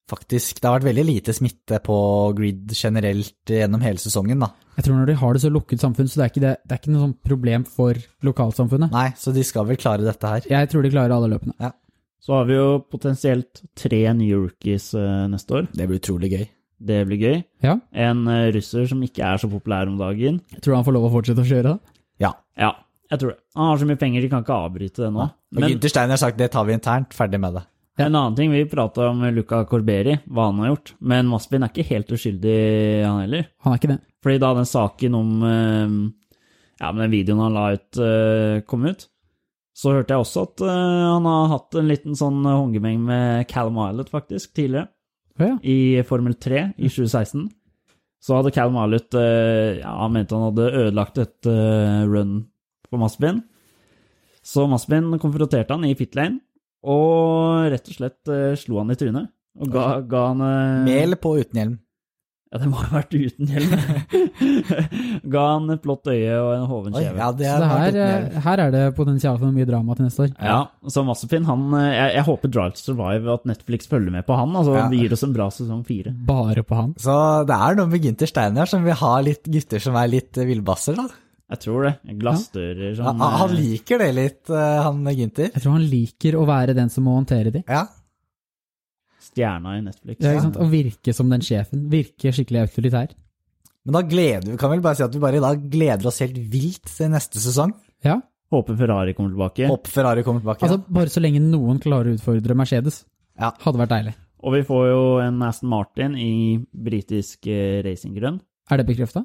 S1: faktisk. Det har vært veldig lite smitte på grid generelt gjennom hele sesongen, da.
S2: Jeg tror når de har det så lukket samfunn, så det er ikke, det, det er ikke noe sånn problem for lokalsamfunnet.
S1: Nei, så de skal vel klare dette her.
S2: Jeg tror de klarer alle løpene.
S3: Så har vi jo potensielt tre nye rookies eh, neste år.
S1: Det blir utrolig gøy.
S3: Det blir gøy.
S2: Ja,
S3: En eh, russer som ikke er så populær om dagen.
S2: jeg tror han får lov å fortsette å kjøre, da.
S1: Ja.
S3: Ja, jeg tror det. Han har så mye penger, de kan ikke avbryte det nå.
S1: Og
S3: Men
S1: Gunter Steiner har sagt det tar vi internt, ferdig med det.
S3: en annen ting, vi prata om Luca Corberi, hva han har gjort. Men Maspin er ikke helt uskyldig, han heller.
S2: Han er ikke det.
S3: Fordi da den saken om eh, Ja, men den videoen han la ut, eh, kom ut, så hørte jeg også at eh, han har hatt en liten sånn håndgemeng med Callum Islet, faktisk, tidligere.
S2: Å ja.
S3: I Formel 3 i 2016. Så hadde Callum Islet eh, Ja, han mente han hadde ødelagt et eh, run på Maspin. Så Maspin konfronterte han i pit lane, og rett og slett eh, slo han i trynet. Og ga, ga han eh,
S1: Med eller på uten hjelm?
S3: ja, det må ha vært uten hjelm. Ga han et blått øye og en hoven
S1: Oi,
S3: kjeve.
S1: ja, det
S2: Så
S1: er
S2: det
S1: bare
S2: her,
S1: uten hjelm.
S2: eh, her er det potensial for mye drama til neste år.
S3: Ja, så Massepin, han, eh, jeg, jeg håper Drive to Survive at Netflix følger med på han. Altså,
S1: Ja.
S3: Det gir oss en bra sesong fire.
S2: Bare på han.
S1: Så det er noe med Gunter Steiner som vil ha litt gutter som er litt eh, villbasser, da.
S3: Jeg tror det. Glassdører
S1: Han,
S3: sånn.
S1: han
S3: eh,
S1: liker det litt, eh, han Gunter.
S2: Jeg tror han liker å være den som må håndtere de.
S1: Ja.
S3: Stjerna i Netflix.
S2: Ja, ikke sant? Å virke som den sjefen. Virke skikkelig autoritær.
S1: Men da gleder vi kan vel bare si at vi bare i dag gleder oss helt vilt til neste sesong.
S2: Ja.
S3: Håper Ferrari kommer tilbake.
S1: Håper Ferrari kommer tilbake.
S2: Altså, bare så lenge noen klarer å utfordre Mercedes.
S1: Ja.
S2: Hadde vært deilig.
S3: Og vi får jo en Aston Martin i britisk eh, racinggrønn.
S2: Er det bekrefta?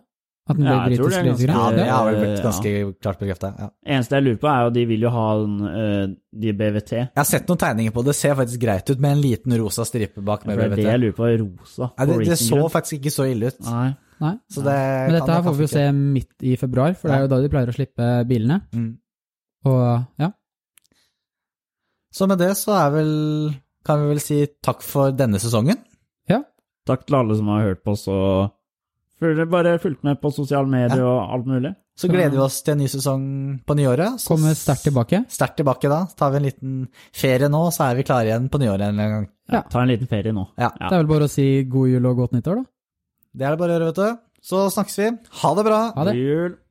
S2: At den blir
S3: Ja, jeg tror
S2: britisk
S3: det er ganske-
S1: ja,
S2: lydgrad?
S1: det
S2: Ja.
S1: har vel blitt
S3: eh,
S1: ganske klart bekrefta. Ja.
S3: Eneste jeg lurer på, er jo de vil jo ha den, eh, de BVT.
S1: Jeg har sett noen tegninger på det, det ser faktisk greit ut med en liten rosa stripe bak med
S3: For det er det jeg
S1: BVT.
S3: lurer på. Rosa
S1: Ja,
S3: på
S1: det, det så
S3: racinggrønn.
S1: faktisk ikke så ille ut.
S3: Nei.
S2: Nei.
S1: Så det
S2: Men
S1: kan
S2: dette her
S1: jeg
S2: får vi jo
S1: kanskje
S2: se midt i februar, for det er jo da de pleier å slippe bilene.
S1: ikke. Mm.
S2: Og ja,
S1: Så med det så er vel kan vi vel si takk for denne sesongen.
S2: ja.
S3: Takk til alle som har hørt på oss og føl- bare fulgt med på sosiale medier og alt mulig.
S1: Så gleder vi oss til en ny sesong på nyåret. Så
S2: kommer sterkt tilbake.
S1: sterkt tilbake da. Så tar vi en liten ferie nå, så er vi klare igjen på nyåret en eller annen gang.
S2: Ja.
S3: Ta en liten ferie nå.
S1: Ja.
S2: Det er vel bare å si god jul og godt nyttår, da.
S1: Det er det bare å gjøre, vet du. Så snakkes vi. Ha det bra!
S2: Ha det.
S3: God jul!